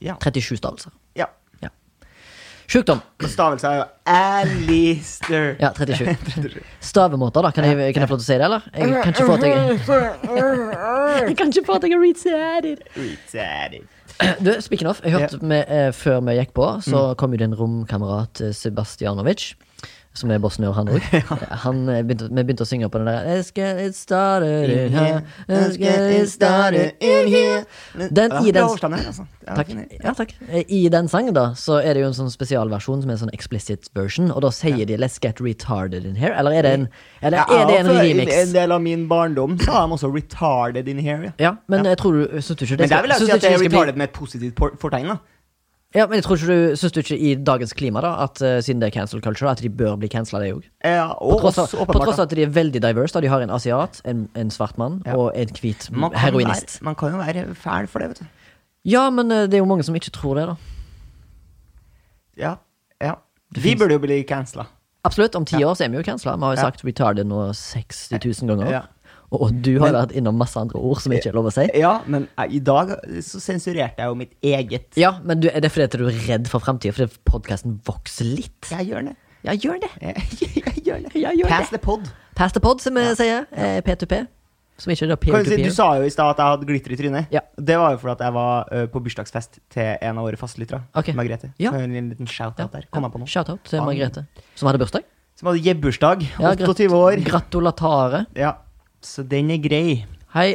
ja.
37 stavelser.
ja.
Sjukdom.
Stavelse er jo Alistair.
Ja, 37. Stavemåter, da. Kan jeg, kan jeg få lov til å si det, eller? Jeg kan ikke få at jeg Jeg kan ikke få at jeg er retarded.
Retarded.
Du, speaking of, jeg hørte med, eh, før vi gikk på, så kom jo din romkamerat eh, Sebastjanovic. Som er bosnier, han òg. Han, eh, begynte- Vi begynte å synge på den der Let's get it started in
Eh,
here. Let's get it started in here. Den,
ja,
i
bra
den,
overstand her, altså. Ja,
Takk.
fin.
Ja, takk. Eh, I den sangen da, så er det jo en sånn spesialversjon som er en sånn explicit version, og da sier de 'let's get retarded in here', eller er det en, eller,
Ja,
er det en
for En
remix?
del av min barndom så har de også retarded in here. Ja.
Ja, men jeg tror du, syns du ikke det
Men der
skal-
vil jeg
syns
si
du
at det
ikke det
er
skal bli-
retarded med et positivt por- fortegn. da
Ja, men jeg tror ikke du, syns du ikke i dagens klima, da, at eh, siden det er cancel culture, at de bør bli cancela, det òg?
Eh, Ja,
På
og
tross av
også
på
åpenbart,
tross
da.
av at de er veldig diverse, da de har en asiat, en, en svart mann
Ja.
og en hvit
Man kan, være,
heroinist.
man kan jo være fæl for det, vet du.
Ja, men eh, det er jo mange som ikke tror det, da.
Ja, ja. Vi burde jo bli cancela.
Absolutt. Om ti år så er vi jo cancela. Vi har jo
Ja.
sagt retarded nå 60 000 ganger.
Ja.
Og og du har jo vært innom masse andre ord som ikke er lov å si.
Ja, men eh, i dag så sensurerte jeg jo mitt eget.
Ja, men du, er det fordi at du er redd for framtida? Fordi podkasten vokser litt?
Jeg gjør det.
Ja, gjør det.
Jeg, jeg gjør det.
Ja, gjør
Pass
det.
the pod.
Pass the pod, som vi sier. Eh, P2P. Som ikke er da
Kan du, si, du
peer-to-peer.
sa jo i stad at jeg hadde glitter i trynet.
Ja.
Det var jo fordi at jeg var eh, på bursdagsfest til en av våre fastlyttere.
Ok.
Margrethe.
Ja.
Så En liten shout-out der. Kom jeg på nå.
Shout-out til
Bang.
Margrethe, som hadde bursdag.
Som hadde jebbursdag.
Ja, grat-
28 år.
Gratulatare.
Ja. Så den er grei.
Hei.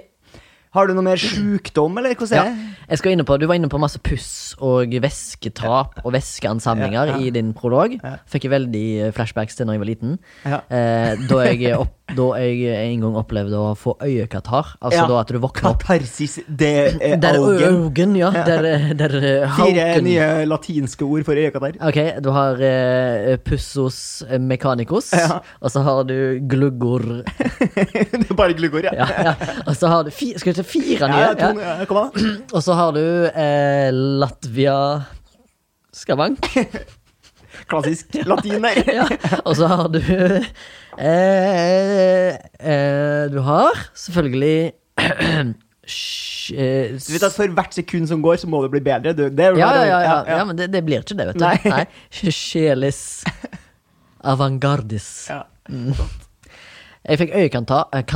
Har du noe mer sjukdom, eller hvordan
Ja.
er det?
Jeg skal inne på, du var inne på masse puss og væsketap og væskeansamlinger i din prolog. Fikk jeg veldig eh, flashbacks til når jeg var liten.
Ja.
Eh, da, jeg opp, da jeg en gang opplevde å få øyekatarr. Altså
Ja.
da at du våkner opp
Katarsis de eh,
Der
augen.
augen, ja. Der, eh, der eh,
Fire
hauken.
nye latinske ord for øyekatarr.
Ok, du har eh, pussos mechanicos,
Ja.
og så har du gluggor
det er bare glukor, ja.
ja, ja. Og så har du fi, skal du til fire nye?
Ja, to, ja. Kom an.
Og så har du eh, Latvia Skavank.
Klassisk latin der.
ja. Og så har du eh, eh, Du har selvfølgelig Sj- eh,
Du vet at For hvert sekund som går, så må det bli bedre. Du, det er
ja, ja, ja, ja, ja, men det, det blir ikke det, vet du.
Nei.
Nei. Sjelis avantgardis.
Ja.
Jeg fikk eh, øyekantar.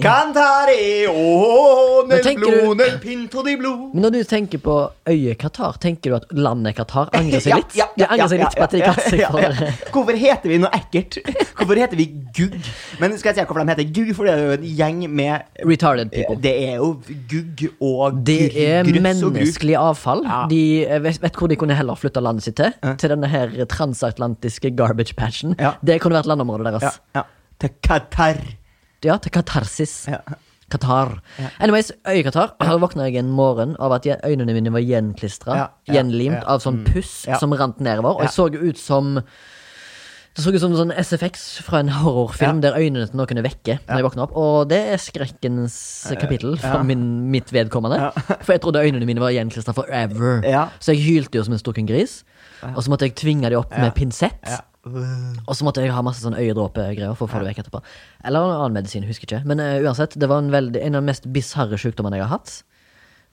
Cantare oh,
Men
nel
tenker
blu,
du-
nel pinto di blu.
Men når du tenker på øyet Qatar, tenker du at landet Qatar angrer seg
Ja,
litt?
ja,
de
ja,
angrer seg
ja,
litt på at de
ja,
kalte seg
ja,
for
ja, ja. Hvorfor heter vi noe ekkelt? Hvorfor heter vi gugg? Men skal jeg si hvorfor de heter gugg? For det er jo en gjeng med
retarded people.
Det er jo gugg og
Det er
gr- grus og grus.
menneskelig avfall.
Ja.
De jeg vet, vet hvor de kunne heller flytta landet sitt til. Til denne her transatlantiske garbage patchen.
Ja.
Det kunne vært landområdet deres.
Ja, ja. Til Qatar.
Ja, til katarsis.
Ja.
Qatar. Anyways, øyekatar. Her våkna jeg en morgen av at jeg- øynene mine var gjenklistra.
Ja, ja,
gjenlimt
ja. Mm.
av sånn puss
Ja.
som rant nedover. Og jeg så jo ut som det så ut som sånn SFX fra en horrorfilm der øynene til noen er vekke. når jeg våkner opp Og det er skrekkens
Eh,
kapittel for min, mitt vedkommende. For jeg trodde øynene mine var gjenklistra forever.
Ja.
Så jeg hylte jo som en stukken gris. Og så måtte jeg tvinge de opp med pinsett. Og så måtte jeg ha masse sånn øyedråpegreier for å få det vekk etterpå. Eller en annen medisin, husker ikke. Men eh, uansett, det var en, veldig, en av de mest bisarre sykdommene jeg har hatt.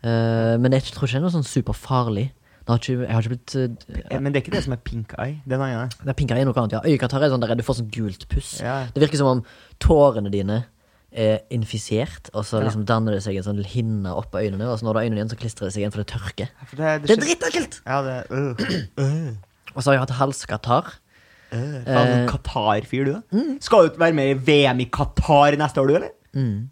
Eh, men jeg tror ikke det er noe sånn superfarlig. Det har ikke, jeg har ikke blitt eh,
Ja, Men det er ikke det som er pink eye. Det er noe annet.
det er pinka i noe annet, ja. Øyekatarr er sånn der du får sånn gult puss.
Ja.
Det virker som om tårene dine er infisert, og så liksom danner det seg en sånn hinne oppå øynene, og så når du har øynene igjen, så klistrer det seg igjen, for det tørker.
For det, det
Det er
skjer-
dritekkelt!
Ja, det øh.
Og så har jeg hatt halskatarr.
Faen,
Eh.
en Qatar-fyr, du, da.
Mm.
Skal du ikke være med i VM i Qatar neste år, du, eller?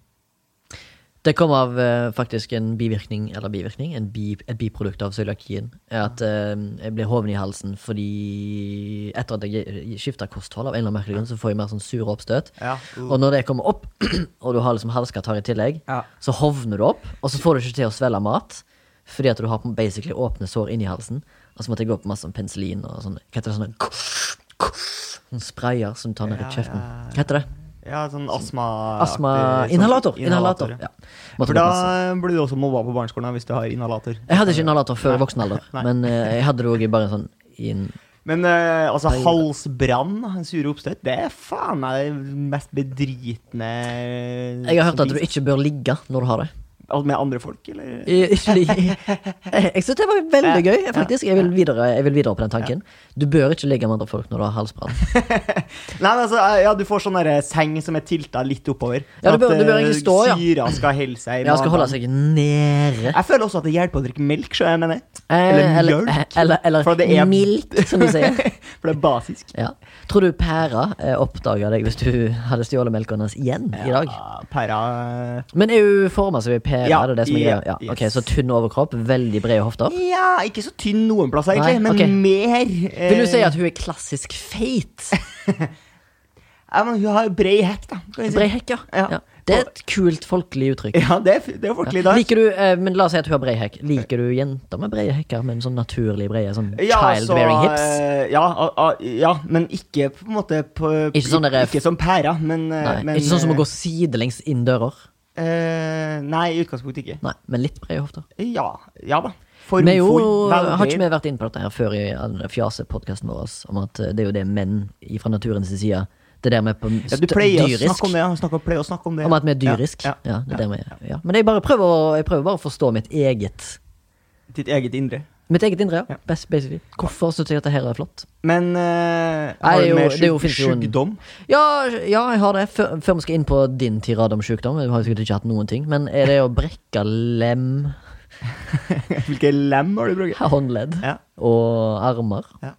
Det kom av eh, faktisk en bivirkning, eller bivirkning, en bi, et biprodukt av cøliakien. er At eh, jeg ble hoven i halsen fordi Etter at jeg skifta kosthold, av en eller annen merkelig grunn, så får jeg mer sånn sure oppstøt.
Ja. Uh.
Og når det kommer opp, og du har liksom halskatarr i tillegg,
Ja.
så hovner du opp, og så får du ikke til å svelge mat fordi at du har på- basically åpne sår inni halsen. Og så måtte jeg gå på masse sånn penicillin og sånn Hva heter det sånne Sånn sprayer som du tar ned i
Ja,
kjeften.
ja.
Hva heter det?
Ja, sånn astma...
Astmainhalator. Inhalator. Ja. Måtte
For
gå på masse.
da eh, blir du også mobba på barneskolen da, hvis du har inhalator.
Jeg hadde ikke inhalator før voksen alder, men eh, jeg hadde det òg bare sånn i en
Men eh, altså, halsbrann, en sure oppstøt, det er faen meg det mest bedritne
Jeg har hørt at du ikke bør ligge når du har det.
Altså, Med andre folk, eller?
I- Ikke ligge. Jeg syns det var veldig gøy, faktisk. Jeg vil videre, jeg vil videre på den tanken. Du bør ikke ligge med andre folk når du har halsbrann.
Nei, men altså, ja, du får sånn derre seng som er tilta litt oppover.
Ja, du
Sånn
bør-
at,
du bør
eh,
egentlig stå, ja.
Syra skal holde seg i
Ja, skal holde
magen.
seg nede.
Jeg føler også at det hjelper å drikke melk, så jeg mener.
Eh,
Eller
Eller,
mjølk.
eller, eller
For det er-
milk, som de sier.
For det er basisk.
Ja. Tror du pæra eh, oppdaga deg hvis du hadde stjålet melken hennes igjen i dag?
Ja, pæra eh,
Men er hun forma som ei pære?
Ja,
er det det som er
ja,
greia? Ja. Ok,
yes.
Så tynn overkropp, veldig brede hofter.
Ja, ikke så tynn noen plasser, egentlig,
Nei,
men
ok.
mer eh,
Vil du si at hun er klassisk feit?
ja, men Hun har brei hekk, da. Kan vi si.
Brei hekk, ja.
Ja.
ja. Det er et kult folkelig uttrykk.
Ja, det er, det er folkelig, da.
Liker du, eh, men La oss si at hun har brei hekk. Liker du jenter med breie hekker? Med en sånn naturlig breie? Sånn child-bearing
altså,
hips?
eh, Ja, a- a- ja, men ikke på en måte på,
Ikke sånn der-
ikke som pæra, men, eh,
Nei,
men
Ikke sånn som å
eh,
gå sidelengs inn dører?
eh, Nei, i utgangspunktet ikke.
Nei, men litt breie hofter.
Ja, ja da. Form
Vi er jo, eh,
for
har ikke
veldig
vi vært inne på dette her før i den fjasepodkasten vår om at eh, det er jo det menn fra naturens side Det der med på
ja, Du
st-
pleier å
dyrisk
snakke om det. Han snakker, pleier å snakke om det.
Om at vi er dyrisk. Ja,
Ja, ja,
det er det vi er. Ja. Men jeg bare prøver å, jeg prøver bare å forstå mitt eget
Ditt eget indre.
Mitt eget indre, ja.
Ja.
Best, basically. Hvorfor syns jeg at dette her er flott?
Men eh,
Nei,
har
det er
du
jo-
mer
det er jo-
sjuk-
finnes jo en-
sjukdom?
Ja, ja jeg har det. Før, før vi skal inn på din tirade om sykdom, vi har jo sikkert ikke hatt noen ting, men er det å brekke lem,
Hvilke lem har du brukt?
håndledd
Ja.
og armer
Ja.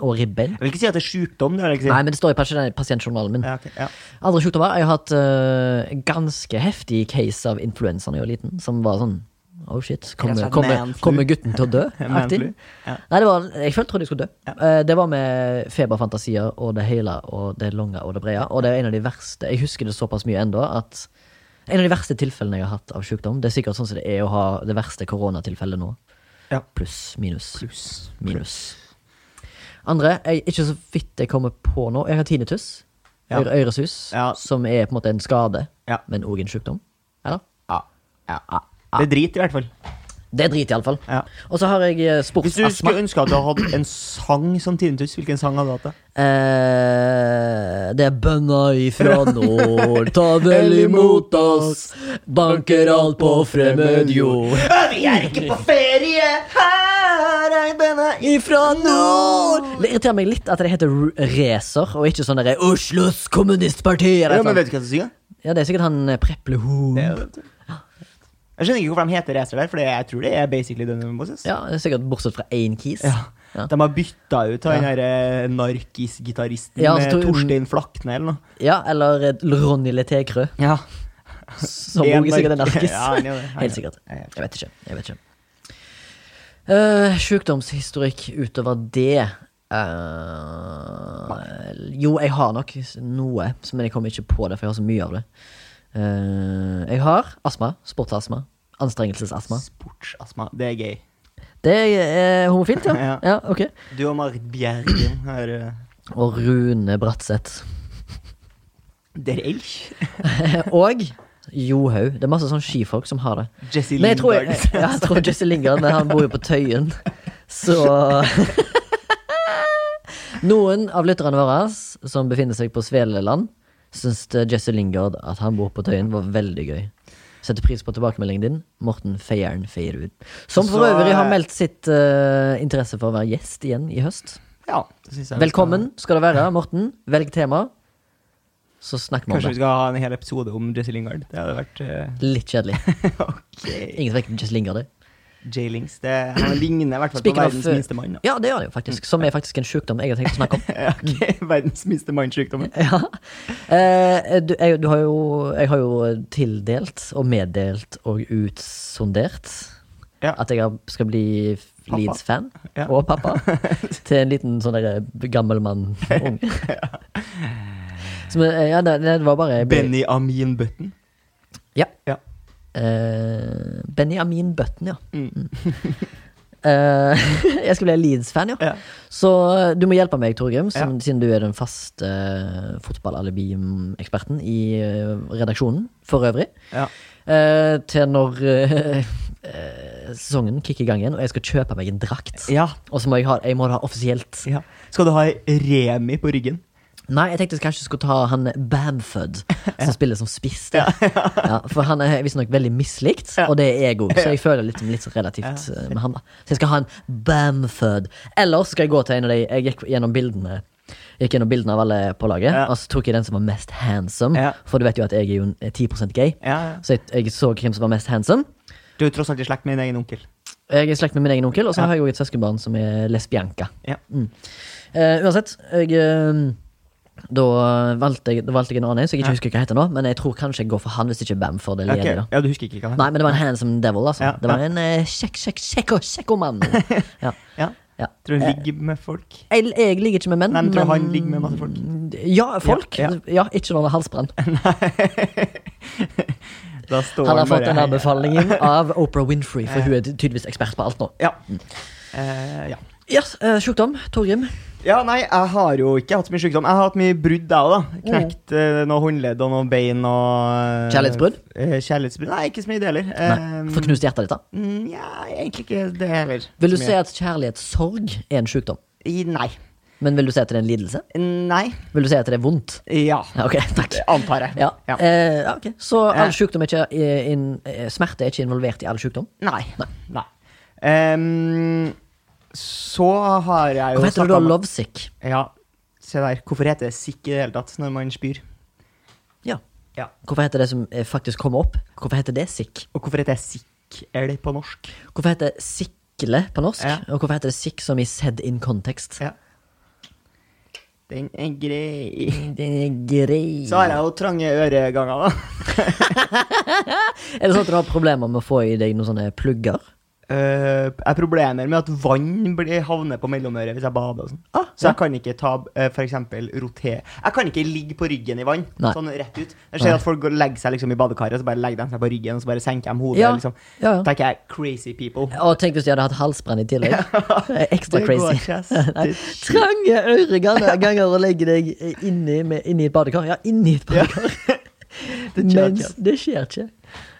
og ribbein?
Jeg vil ikke si at det er sjukdom. Det vil jeg ikke si.
Nei, men det står i pasient- pasientjournalen min.
Ja, ok, ja.
Andre sykdommer. Jeg har hatt eh, ganske heftig case av influensa da jeg var liten, som var sånn Oh shit, kommer,
Rett og slett
kommer,
manflu.
kommer gutten til å dø? Aktig.
Manflu, ja.
Nei, det var, jeg følte trodde jeg skulle dø. Eh, det var med feberfantasier og det hele og det lange og det brede. Og det er en av de verste Jeg husker det såpass mye ennå at en av de verste tilfellene jeg har hatt av sykdom, det er sikkert sånn som det er å ha det verste koronatilfellet nå.
Ja.
Pluss, minus.
Pluss.
Minus. Andre jeg, Ikke så vidt jeg kommer på nå. Jeg har tinnitus.
Ja.
øre- Øresus.
Ja.
Som er på en måte en skade,
Ja.
men òg en sykdom. Eller?
Ja. Ja. Det er drit, i hvert fall.
Det er drit, iallfall.
Ja.
Og så har jeg eh,
Hvis du
sportsastma.
skulle ønske at du hadde en sang som tinnitus, hvilken sang hadde du hatt? da?
Eh, det er bønna ifra nord, ta vel imot oss. Banker alt på fremmed jord.
Vi er ikke på ferie, her jeg denne
Ifra nord! Det irriterer meg litt at det heter R- Racer, og ikke sånn derre Oslos kommunistparti.
Ja,
Eller
men
noe.
vet du hva som synger?
Ja, det er sikkert han eh, Preple Hoom.
Det er jo- Jeg skjønner ikke hvorfor de heter Racer der, for det- jeg tror det er basically Dønne Moses.
Ja, det er sikkert bortsett fra én kis.
Ja.
Ja.
De har bytta ut han
Ja.
derre narkis-gitaristen
Ja,
ja,
altså, tror-
Torstein Flakne eller noe.
Ja, eller eh, Ronny Letekrø,
Ja.
som
En
også sikkert er
nark-
narkis.
Ja, han er det. Han er
Helt
det.
sikkert.
Ja, ja.
Jeg vet ikke. Jeg vet ikke. Eh, sjukdomshistorikk utover det eh, Jo, jeg har nok s- noe, s- men jeg kommer ikke på det, for jeg har så mye av det. Eh, jeg har astma. Sportsastma. Anstrengelsesastma.
Sportsastma. Det er gøy.
Det er homofilt, ja. ja.
Ja.
ok.
Du og Marit Bjergen har eh,
Og Rune Bratseth.
Der Elch.
Og Johaug. Det er masse sånn skifolk som har det.
Jesse
Men jeg tror, jeg,
Lingard.
ja, jeg tror Jesse Lingard men Han bor jo på Tøyen Så Noen av lytterne våre Som befinner seg på Sveleland Synes det Jesse Lingard at han bor på Tøyen Var veldig gøy Setter pris på tilbakemeldingen din Morten Feieren Feierud Som for
Så-
øvrig har meldt sitt eh, interesse for å være gjest igjen i høst
Ja, det synes jeg vi
Velkommen skal det være, Morten Velg tema Så snakker
Skal,
vi om
kanskje vi skal ha en hel episode om Jesse Lingard. Det hadde vært eh,
det Litt kjedelig
Ok.
Ingen vekk Jesse Lingard det
J-Lings. Det- Han ligner i hvert fall på
Speaking of,
verdens
eh,
minste mann. da.
Ja, det gjør det jo faktisk Som er faktisk en sykdom jeg har tenkt å snakke om
Ja, ok, Verdens minste mann-sykdommen.
Ja. Eh, du, jeg, du har jo, jeg har jo tildelt og meddelt og utsondert
Ja.
at jeg har- skal bli Leeds-fan.
Ja.
Og pappa. Til en liten sånn der gammel mann. Ung. Så, men, eh, ja, det, det var bare jeg ble-
Benny Amin Button.
Ja.
Ja.
Eh, Benjamin Button, ja.
Mm.
Mm. Eh, jeg skal bli Leeds-fan, ja.
Ja.
Så eh, du må hjelpe meg, Torgrim, som,
Ja.
siden du er den faste uh, fotballalibi-eksperten i eh, redaksjonen for øvrig.
Ja.
Eh, til når eh, eh, sesongen kicker i gang igjen, og jeg skal kjøpe meg en drakt.
Ja.
Og så må jeg ha jeg må ha det offisielt.
ja. Skal du ha Remi på ryggen?
Nei, jeg tenkte jeg kanskje skulle ta han Bamford, som spiller som spiss. der. ja, for han er visstnok veldig mislikt, og det er jeg òg, så jeg føler litt, litt sånn relativt eh, med han. da Så jeg skal ha en Bamford. Eller så skal jeg gå til en av de Jeg gikk gjennom bildene Gikk gjennom bildene av alle på laget,
Ja.
og så tok jeg den som var mest handsome.
Ja.
For du vet jo at jeg er jo en- er 10 gay,
Ja, ja.
så jeg, jeg så hvem som var mest handsome.
Du er jo tross alt i slekt med din egen onkel.
Jeg er i slekt med min egen onkel, og så har jeg òg et søskenbarn som er lesbianka.
Ja.
Eh, uansett, jeg, eh, da, valgte jeg, da valgte jeg en annen en, så jeg ikke husker hva heter nå. Men jeg tror kanskje jeg går for han hvis ikke Bamford er
Ok,
ledig. da.
Ja, du husker ikke hva han
Nei, men det var en handsome devil, altså.
Ja,
det var
ja.
en eh, kjekk, kjekk, kjekk og kjekk og mann. ja,
Ja.
ja.
Tror hun ligger med folk.
Jeg, jeg ligger ikke med menn.
Nei, men tror
men-
han ligger med masse folk.
Ja, folk. Ja,
Ja, ja.
ikke når det er halsbrann.
Da står
Han har
bare
fått den
her.
anbefalingen av Oprah Winfrey, for hun er tydeligvis ekspert på alt nå.
Ja. Eh, ja.
Yes, eh, Sjukdom. Torgrim.
ja, nei, jeg har jo ikke hatt så mye sykdom. Jeg har hatt mye brudd, jeg òg,
Mm.
da. Knekt eh, noen håndledd og noen bein og eh,
Kjærlighetsbrudd?
eh, kjærlighetsbrudd? Nei, ikke så mye det heller. Eh,
Få knust hjertet ditt, da.
mm, ja, egentlig ikke det heller.
Vil du
Så mye.
si at kjærlighetssorg er en sjukdom?
I- Nei.
Men vil du si at det er en lidelse?
Nei.
Vil du si at det er vondt?
Ja.
Ja, ok, takk.
Antar jeg.
Ja.
Ja.
Eh, ja, ok. Så all
Eh.
sykdom er ikke eh, inn- eh, smerte er ikke involvert i all sykdom?
Nei. Nei. Ehm, så har jeg jo
Hvorfor heter det
snakket
da
om-
lovesick?
Ja, se der. Hvorfor heter det sikk i det hele tatt når man spyr?
Ja.
Ja.
Hvorfor heter det som eh, faktisk kommer opp? Hvorfor heter det sick?
Og hvorfor heter det sikkel på norsk?
Hvorfor heter det sikle på norsk?
Ja.
Og hvorfor heter det sick som i sedd in context?
Ja. Den er grei.
Det er grei.
Så har jeg jo trange øreganger, da.
Er det sånn at du har problemer med å få i deg noen sånne plugger?
Eh, jeg har problemer med at vann blir, havner på mellomøret hvis jeg bader. og sånn.
Ah,
så jeg kan ikke ta eh, for eksempel roter... Jeg kan ikke ligge på ryggen i vann.
Nei.
Sånn rett ut. Jeg ser
Nei.
at folk går- legger seg liksom i badekaret, så bare legger de seg på ryggen og så bare senker de hodet.
Ja.
Liksom.
Ja, ja.
Tenker jeg crazy people.
Og tenk hvis de hadde hatt halsbrann i tillegg. Ekstra
Det går
crazy.
ikke, ass.
Nei.
Det-
Trange øreganger ganger å legge deg inni, med, inni et badekar. Ja, inni et badekar.
Det skjer
Mens det skjer ikke.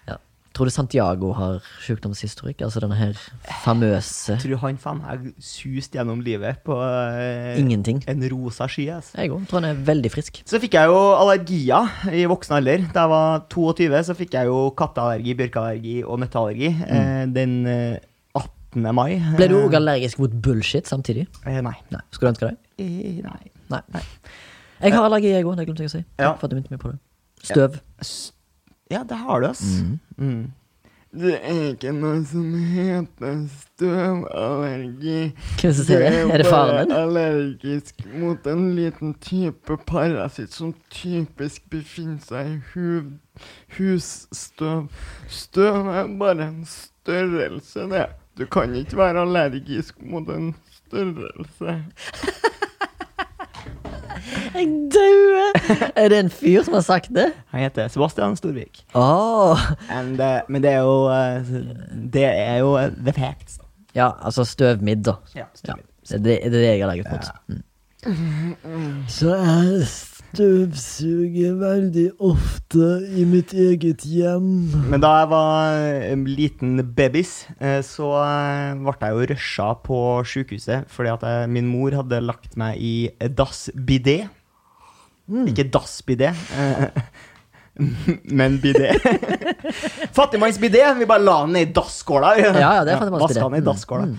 Ja. Tror du Santiago har sykdomshistorikk? Altså denne her famøse
Jeg tror han faen meg suste gjennom livet på eh,
Ingenting.
en rosa sky. ass.
Jeg òg tror han er veldig frisk.
Så fikk jeg jo allergier i voksen alder. Da jeg var 22, så fikk jeg jo katteallergi, bjørkeallergi og nøtteallergi. Eh, den eh, 17. mai.
Mm. Ble du òg allergisk mot bullshit samtidig?
Eh, Nei.
Nei. Skulle du ønske deg?
Eh, Nei.
Nei. Jeg har allergi, jeg òg. Det glemte jeg å si.
Ja.
Takk for at du minnet meg på det. Støv.
S- Ja, det har du, ass. Mm. Det eh, er ikke noe som heter støvallergi.
Hvem er det som sier det? Er det faren din?
allergisk mot en liten type parasitt som typisk befinner seg i huv- husstøv. Støv er bare en størrelse, det. Du kan ikke være allergisk mot en størrelse.
Jeg dauer! Er det en fyr som har sagt det?
Han heter Sebastian Storvik.
Åh
And, eh, men det er jo eh, Det er jo eh, the facts. da.
Ja, altså støvmidd, da.
Ja,
Ja,
støvmidd.
det, er det det er det jeg har laget mot. Mm.
Så jeg støvsuger veldig ofte i mitt eget hjem.
Men da jeg var en liten babys, eh, så eh, ble jeg jo rusha på sykehuset fordi at jeg, min mor hadde lagt meg i dass-bidé.
Mm.
Ikke dass-bidé, eh, men bidé. Fattigmannsbidé! Vi bare la den ned i dasskåla.
Ja, ja, det er fattigmannsbidé.
Vaska den
Mm,
i dasskåla.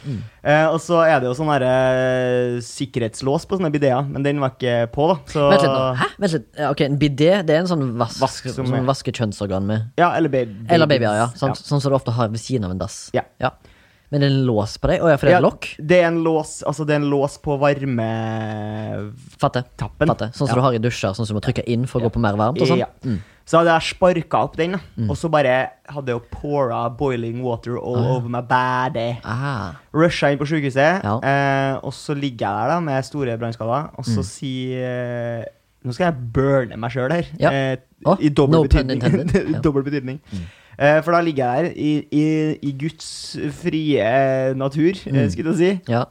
Eh, og så er det jo sånn der, eh, sikkerhetslås på sånne bidéer, men den var ikke på, da. Så,
Vent litt nå. Hæ? Vent litt. Ja, ok, En bidé det er en sånn vask,
Vask som
som,
er-
vasker kjønnsorgan med.
Ja, eller, baby,
Eller babyer, ja. Sånn, sånn som du ofte har ved siden av en dass.
Ja.
Men det er en lås på deg? Å ja, for det er et lokk?
Det er en lås, altså det er en lås på varme...
Fatter.
Tappen.
Fatter. Sånn som
Ja.
du har i dusjer, sånn som du må trykke inn for å gå på mer varmt og sånn? Mm.
Ja. Så hadde jeg sparka opp den, da. og så bare hadde jeg pora boiling water all over my body.
Ah.
Rusha inn på sykehuset,
Ja.
eh, og så ligger jeg der da med store brannskader, og
Mm.
så sier eh, Nå skal jeg burne meg sjøl her.
Ja.
eh,
Å,
I dobbel
no pun
betydning.
intended. Ja. Mm.
dobbel betydning. Eh, for da ligger jeg der i, i, i Guds frie natur,
Mm.
eh, skulle jeg si.
Ja.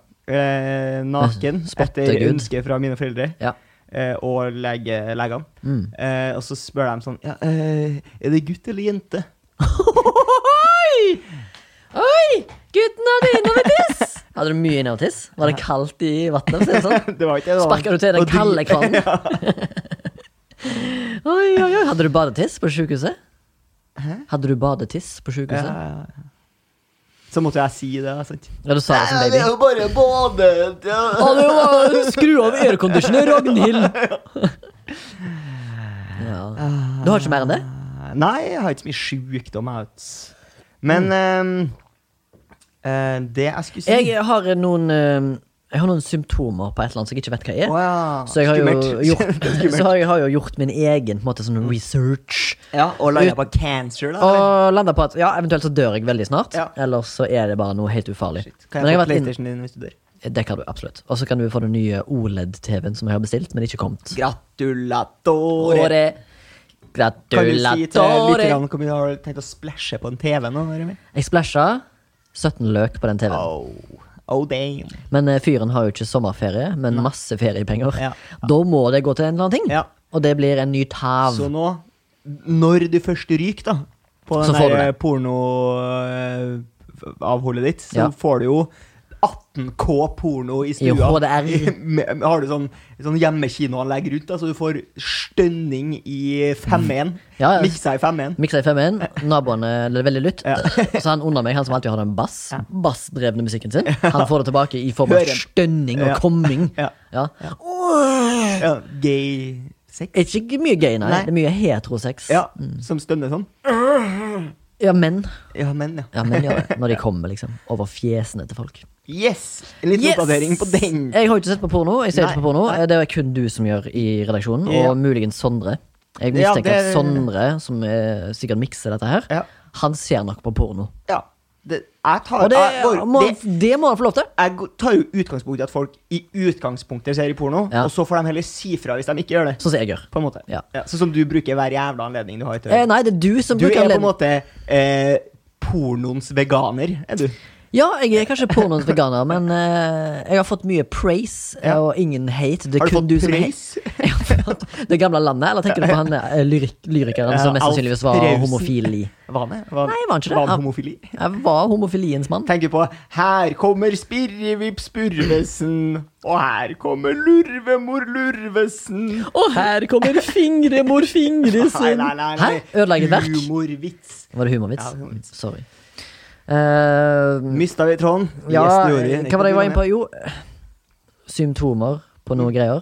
eh, naken
Spotte
etter
Gud.
ønske fra mine foreldre
Ja.
eh, og lege, legene.
Mm.
Eh, og så spør de sånn ja, eh, Er det gutt eller jente?
Oi! Oi! Gutten hadde innover tiss! Hadde du mye innover tiss? Var det kaldt i vannet? for å si det Sånn?
Det var ikke det, da.
Sparka du til den
Og du-
kalde kvalmen? Oi, oi, oi. Hadde du badetiss på sykehuset? Hadde du badetiss på
Ja,
sykehuset?
ja, ja. Så måtte jeg si det. da, Sant?
Ja, du sa det som baby.
jo bare badet. Ja.
Å, det var, skru av airconditioner, Ragnhild! Ja. Du har ikke mer enn det?
Nei, jeg har ikke så mye sjukdom. jeg vet. Men eh, eh, det jeg skulle si
Mm. Jeg har noen eh, Jeg har noen symptomer på et eller annet som jeg ikke vet hva er.
Å ja.
Så jeg har jo
Skummelt.
gjort,
Skummelt. Mm.
så har jeg har jo gjort min egen på en måte, sånn research.
ja, Og landa på cancer, da? eller?
Og landa på at ja, eventuelt så dør jeg veldig snart.
Ja.
Eller så er det bare noe helt ufarlig.
Shit. Kan jeg
har
få
vært inn-
PlayStation din hvis du dør?
Det kan du absolutt. Og så kan du få den nye E OLED-TV-en som jeg har bestilt, men ikke kommet.
Gratulatore.
Åre.
Kan du si til
Gratulatore.
lytterne hvor mye har du tenkt å splæsje på en TV nå? Remi?
Jeg splæsja 17 løk på den TV-en.
Oh, oh damn.
Men eh, fyren har jo ikke sommerferie, men masse feriepenger.
Ja.
Da må det gå til en eller annen ting.
Ja.
Og det blir en ny tav.
Så nå, når du først ryker da, på
Så
den
får du
der eh,
det.
pornoavholdet ditt, så
Ja.
får du jo 18K porno i stua.
I HDR.
Med- med- Har du sånn, sånn hjemmekinoanlegg rundt, da, så du får stønning i 5-1.
Mm. Ja, ja.
Miksa i 5-1.
Miksa i 5-1. Naboene det er veldig lytt.
Ja.
Så han under meg, han som alltid har den bass, bassdrevne musikken sin, han får det tilbake i form av
Hører.
stønning og
Ja.
komming.
Ja.
Ja.
Ja, gay sex.
Er Ikke mye gay, nei.
Nei.
Det er mye heterosex.
Ja, som stønner sånn.
ja, menn.
Ja, men ja.
Ja, menn gjør det. Når de kommer, liksom. Over fjesene til folk.
Yes! En liten
Yes!
oppdatering på den.
Jeg har jo ikke sett på porno. Jeg ser
Nei,
ikke på porno.
nei.
Det er kun du som gjør i redaksjonen, og
Ja.
muligens Sondre. Jeg
Ja,
mistenker at
det-
Sondre, som eh, sikkert mikser dette her,
Ja.
han ser nok på porno.
Ja. Det, jeg tar,
Og det,
jeg går-
må,
ah, det-
han- det må han få lov til.
jeg go- tar jo utgangspunkt i at folk i utgangspunktet ser i porno,
Ja.
og så får de heller si fra hvis de ikke gjør det.
Sånn som jeg gjør.
På en måte.
Ja.
sånn som du bruker hver jævla anledning du har. Til. å
Eh,
gjøre.
nei, det er du som
du
bruker
er på en
anledning.
måte eh, pornoens veganer, er du.
Ja, jeg er kanskje pornoens veganer, men eh, jeg har fått mye praise eh,
Ja.
og ingen hate. Det er
Har du
kun
fått
som er-
praise?
Jeg har fått det gamle landet, eller tenker du på han eh, lyrik lyrikeren som
Ja,
mest
Alf
sannsynligvis var
Preussen.
homofili?
Var han det?
Nei, var han ikke det? Ja.
Var han homofili?
Jeg var homofiliens mann.
Tenker på 'Her kommer Spirrevips Spurvesen', og 'her kommer Lurvemor Lurvesen'.
Og her kommer fingremor fingresen.
Nei, nei, nei. nei.
Hæ? Ødelegger verk?
Humorvits.
Var det humorvits?
Ja, humorvits.
Sorry. Eh,
Mista vi tråden?
ja, eh,
Yes, det gjorde vi.
hva var det jeg var inne på? Jo, symptomer på
Mm.
noen greier.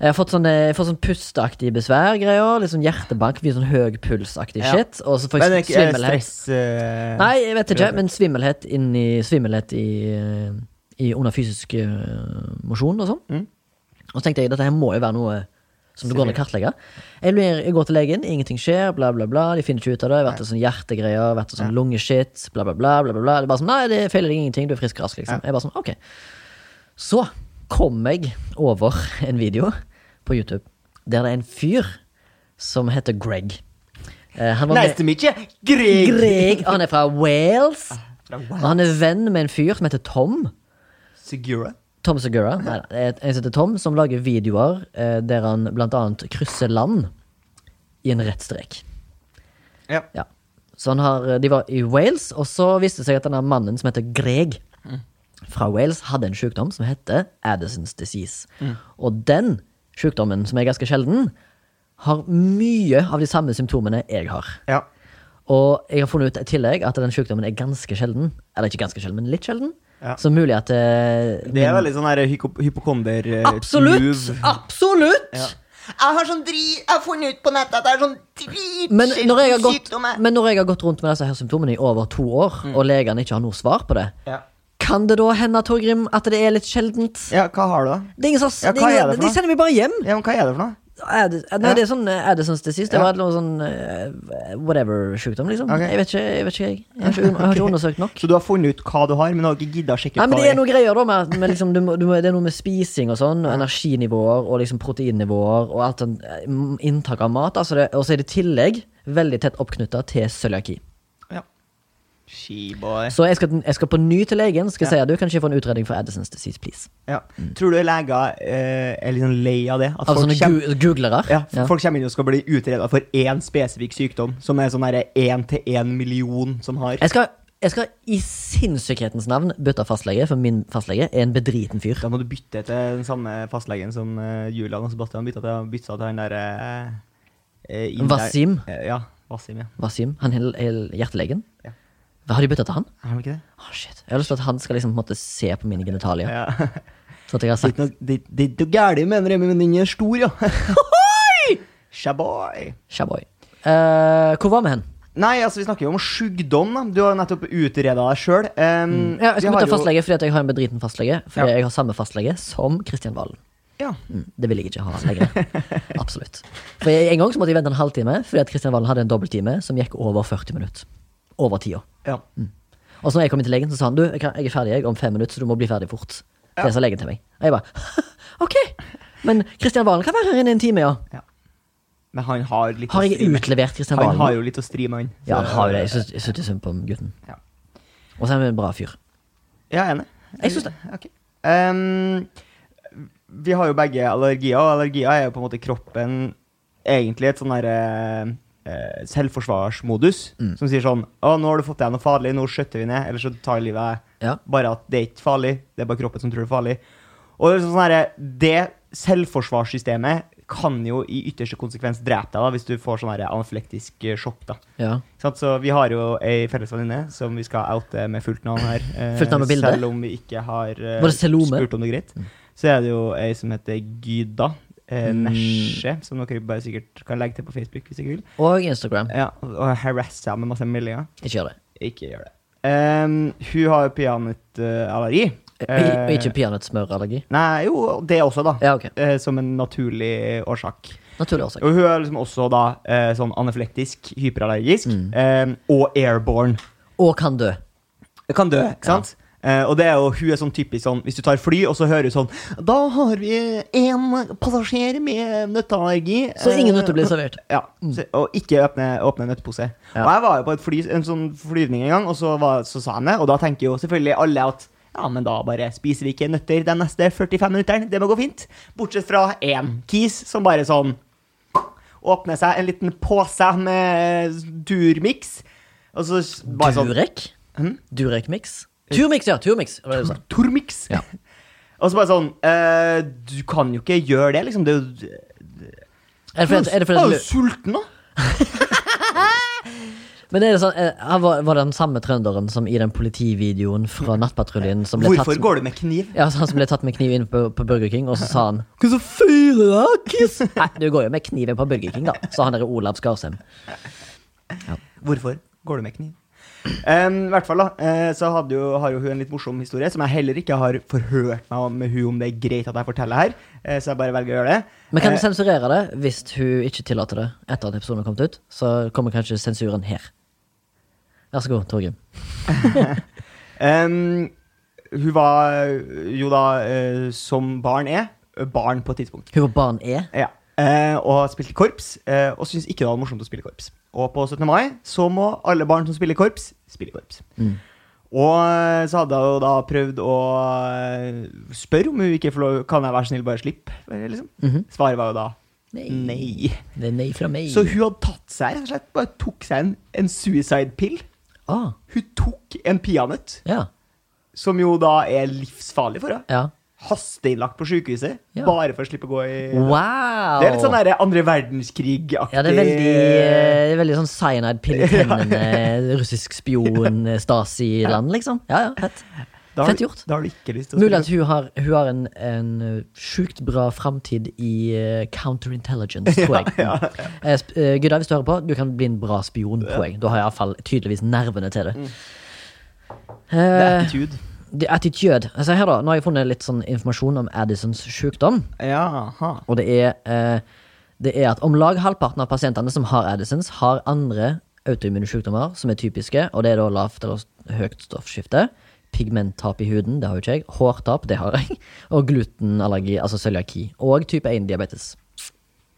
Jeg har fått sånn, eh, jeg får sånn pusteaktig besvær-greier. Litt sånn hjertebank, mye sånn høy puls-aktig
Ja.
shit. Og så får
Men
jeg
ikke eh,
svimmelhet.
stress eh,
Nei, jeg vet ikke, men svimmelhet inni Svimmelhet i, eh, i under fysisk eh, mosjon og sånn.
Mm.
Og så tenkte jeg dette her må jo være noe som det går an å kartlegge. Jeg, lurer, jeg går til legen, ingenting skjer, bla, bla, bla. De finner ikke ut av det. Det har vært sånn hjertegreier, vært sånn lungeshit, bla, bla, bla. bla, bla, bla. Det er bare sånn, Nei, det feiler deg ingenting, du er frisk og rask, liksom. Jeg bare sånn, ok. Så kom jeg over en video på YouTube der det er en fyr som heter Greg. Eh, han var
Nice to meet you, Greg!
Greg, han er fra Wales.
Fra
Og han er venn med en fyr som heter Tom.
Segura.
Tom Segura. Nei, da, det er en som heter Tom, som lager videoer eh, der han blant annet krysser land i en rett strek.
Ja.
Ja. Så han har, eh, de var i Wales, og så viste det seg at denne mannen som heter Greg fra Wales, hadde en sykdom som heter Addisons disease. Og den sykdommen, som er ganske sjelden, har mye av de samme symptomene jeg har.
Ja.
Og jeg har funnet ut i tillegg at den sykdommen er ganske sjelden. Eller ikke ganske sjelden, men litt sjelden.
Ja.
Så mulig at eh,
Det er
min-
veldig sånn her hyko- hypokonder... eh,
Absolutt!
move.
Absolutt!
Jeg har sånn dri... Jeg har funnet ut på nettet at det er sånn dritsjelden
Men når, jeg har gått,
sykdom, jeg.
men når jeg har gått rundt med disse her symptomene i over to år, og legene ikke har noe svar på det,
Mm. Ja.
kan det da hende Torgrim, at det er litt sjeldent?
ja, hva har du da?
Det er ingen som,
Ja,
det er
hva er
ingen,
det for
de
noe?
sender meg bare hjem!
Ja, men hva er det for noe?
Er det, nei,
Ja.
det er sånn er det sånn til sist. Det
Ja.
var noe sånn eh, whatever-sjukdom, liksom.
Ok.
Jeg vet ikke, jeg. Vet ikke, jeg. Jeg, har ikke, jeg har ikke undersøkt nok.
Så du har funnet ut hva du har, men du har ikke giddet å sjekke
Nei,
ut
men
hva
det er noe greier da med, at- med liksom, du må, du må, Det er noe med spising og sånn, og energinivåer og liksom proteinnivåer og alt sånn eh, m- inntak av mat. Altså det- og så er det i tillegg veldig tett oppknytta til cøliaki.
Skiboy.
Så jeg skal, jeg skal på ny til legen skal jeg si at du kan ikke få en utredning for Addisons disease, please.
Ja. Tror du leger eh, er litt sånn lei av det? At
Av Mm.
folk
Altså sånne
kjem-
gu googlere.
Ja, Folk kommer inn og skal bli utreda for én spesifikk sykdom, som er sånn én til én million som har.
Jeg, skal, jeg skal i sinnssykhetens navn bytte fastlege, for min fastlege er en bedriten fyr.
Da må du bytte til den samme fastlegen som eh, Julian og Sebastian bytta til. Bytta til han eh, derre
Wasim?
Eh, Ja. Wasim, ja.
Wasim, han hel- hel- hjertelegen.
Ja.
Hva har de bytta til han?
Er han ikke det?
Å, shit. Jeg har lyst til at han skal liksom på en måte se på mine genitalier.
Ja.
Sånn at jeg har
Det er
sagt
ikke noe- Det det er ikke noe gærent, mener jeg, men den er stor, ja. Shaboy.
Shaboy. Eh, hvor var vi hen?
Nei, altså, vi snakker jo om sjukdom, da. Du har jo nettopp utreda deg sjøl.
Mm. Ja, jeg skal bytte fastlege fordi at jeg har en bedriten fastlege. Fordi
Ja.
jeg har samme fastlege som Kristian Valen.
Ja.
Mm, det vil jeg ikke ha lenger. Absolutt. For jeg, En gang så måtte jeg vente en halvtime fordi at Kristian Valen hadde en dobbelttime som gikk over 40 minutter. Over tida.
ja.
Mm. Og så når jeg kom inn til legen, så sa han du, jeg kan- jeg er ferdig jeg, om fem minutter, så du må bli ferdig fort. Det sa legen til meg. Og jeg bare OK. Men Kristian Valen kan være her innen en time, ja.
Men han har litt
Har
å
jeg
stri med.
utlevert Kristian
Han har
Valen?
jo litt å stri med, han.
Ja, han
Så-
har jo det. Jeg syns- Jeg syns det er synd på gutten.
Ja.
Og så er han en bra fyr.
Jeg er enig. Eh,
Jeg syns det.
Ok. Ehm, vi har jo begge allergier, og allergier er jo på en måte kroppen egentlig et sånn derre eh, selvforsvarsmodus
Mm.
som sier sånn Å, nå har du fått deg noe farlig, nå skjøtter vi ned, eller så tar livet av deg.
Ja.
Bare at det er ikke farlig, det er bare kroppen som tror det er farlig. Og det, er sånn sånn derre- det selvforsvarssystemet kan jo i ytterste konsekvens drepe deg da, hvis du får sånn derre anafylektisk eh, sjokk. da.
Ja.
Ikke sant? Så vi har jo ei felles venninne som vi skal oute med fullt navn her. eh,
Fullt navn og bilde?
Selv om vi ikke har eh,
Var det Selome?
spurt om det greit. Så er det jo ei som heter Gyda eh,
Mm.
Nesje, som dere bare sikkert kan legge til på Facebook hvis dere vil.
Og Instagram.
Ja, og harassa med masse meldinger.
Ikke gjør det.
Ikke gjør det. Em, hun har jo peanøttallergi.
Eh,
Eh,
ikke peanøttsmørallergi.
Nei, jo, det også, da.
Ja, ok.
Eh, som en naturlig årsak.
Naturlig årsak.
Og hun er liksom også da eh, sånn anafylektisk, hyperallergisk,
Mm.
em, og airborne.
Og kan dø.
Jeg kan dø, ikke sant? Eh, og det er jo, hun er sånn typisk sånn Hvis du tar fly, og så hører du sånn Da har vi en passasjer med nøtteallergi.
Så ingen
eh,
nøtter blir servert.
Ja, så, og ikke åpne, åpne nøttepose.
Ja.
Og jeg var jo på et fly, en sånn flyvning en gang, og så, var, så sa han det. Og da tenker jo selvfølgelig alle at ja, men da bare spiser vi ikke nøtter de neste 45 minuttene. Det må gå fint. Bortsett fra én kis som bare sånn åpner seg en liten pose med turmix. Og så s- bare sånn
Durek? Durek-mix? Turmix, ja! Turmix. Hva var det du sa?
Tormix. og så bare sånn eh, Du kan jo ikke gjøre det, liksom. Det er jo
Er det fordi at- er det fordi
Jeg er jo
at-
sulten, da.
Men er det sånn, eh, han var, var det den samme trønderen som i den politivideoen fra Nattpatruljen som ble
Hvorfor
tatt
går du med kniv?
ja, så Han som ble tatt med kniv inn på, på Burger King, og så sa han Hva så fyrer da, kiss? Nei, du går jo med kniven på Burger King, da, sa han der Olav Skarsheim.
Hvorfor går du med kniv? Em, I hvert fall da, eh, så hadde jo, har jo hun en litt morsom historie, som jeg heller ikke har forhørt meg om- med hun om det er greit at jeg forteller her. eh, Så jeg bare velger å gjøre det.
Men kan
Eh,
vi sensurere det hvis hun ikke tillater det etter at episoden har kommet ut? Så kommer kanskje sensuren her. Vær så god, Torgrim.
em, hun var jo da, eh, som barn er, eh, barn på et tidspunkt.
Hun og barn er
Ja. Eh, og spilte korps, eh, og syntes ikke det var morsomt å spille korps. Og på 17. mai så må alle barn som spiller korps, spille korps.
Mm.
Og eh, så hadde jeg jo da prøvd å eh, spørre om hun ikke får lov Kan jeg være snill, bare slippe? Liksom.
Mhm.
Svaret var jo da nei.
Det er nei fra meg.
Så hun hadde tatt seg rett og slett bare tok seg en, en suicide pill.
ah,
Hun tok en peanøtt,
ja.
som jo da er livsfarlig for henne.
ja.
Hasteinnlagt på sykehuset,
Ja.
bare for å slippe å gå i
Wow!
Det er litt sånn der andre verdenskrig-aktig.
Ja, det er veldig, eh, det er veldig sånn cyanide-pille i tennene, russisk spion, eh, Stasi-land, liksom. Ja, ja, fett.
Da har
Fett
du-
gjort.
Da har du ikke lyst til å
Mulig at
spille.
hun har, hun har en, en eh, sjukt bra framtid i eh, counterintelligence, tror jeg. Ja, Gudda, hvis du hører på, du kan bli en bra spion, tror jeg. Du har iallfall tydeligvis nervene til det.
Det er
Eh,
attitude.
det er attitude. Altså her da, nå har jeg funnet litt sånn informasjon om Addisons sjukdom.
Jaha.
Og det er, eh, det er at om lag halvparten av pasientene som har Addisons, har andre autoimmune sykdommer som er typiske, og det er da lavt eller høyt stoffskifte. Pigmenttap i huden, det har jo ikke jeg. Hårtap, det har jeg. Og glutenallergi, altså cøliaki. Og type 1-diabetes.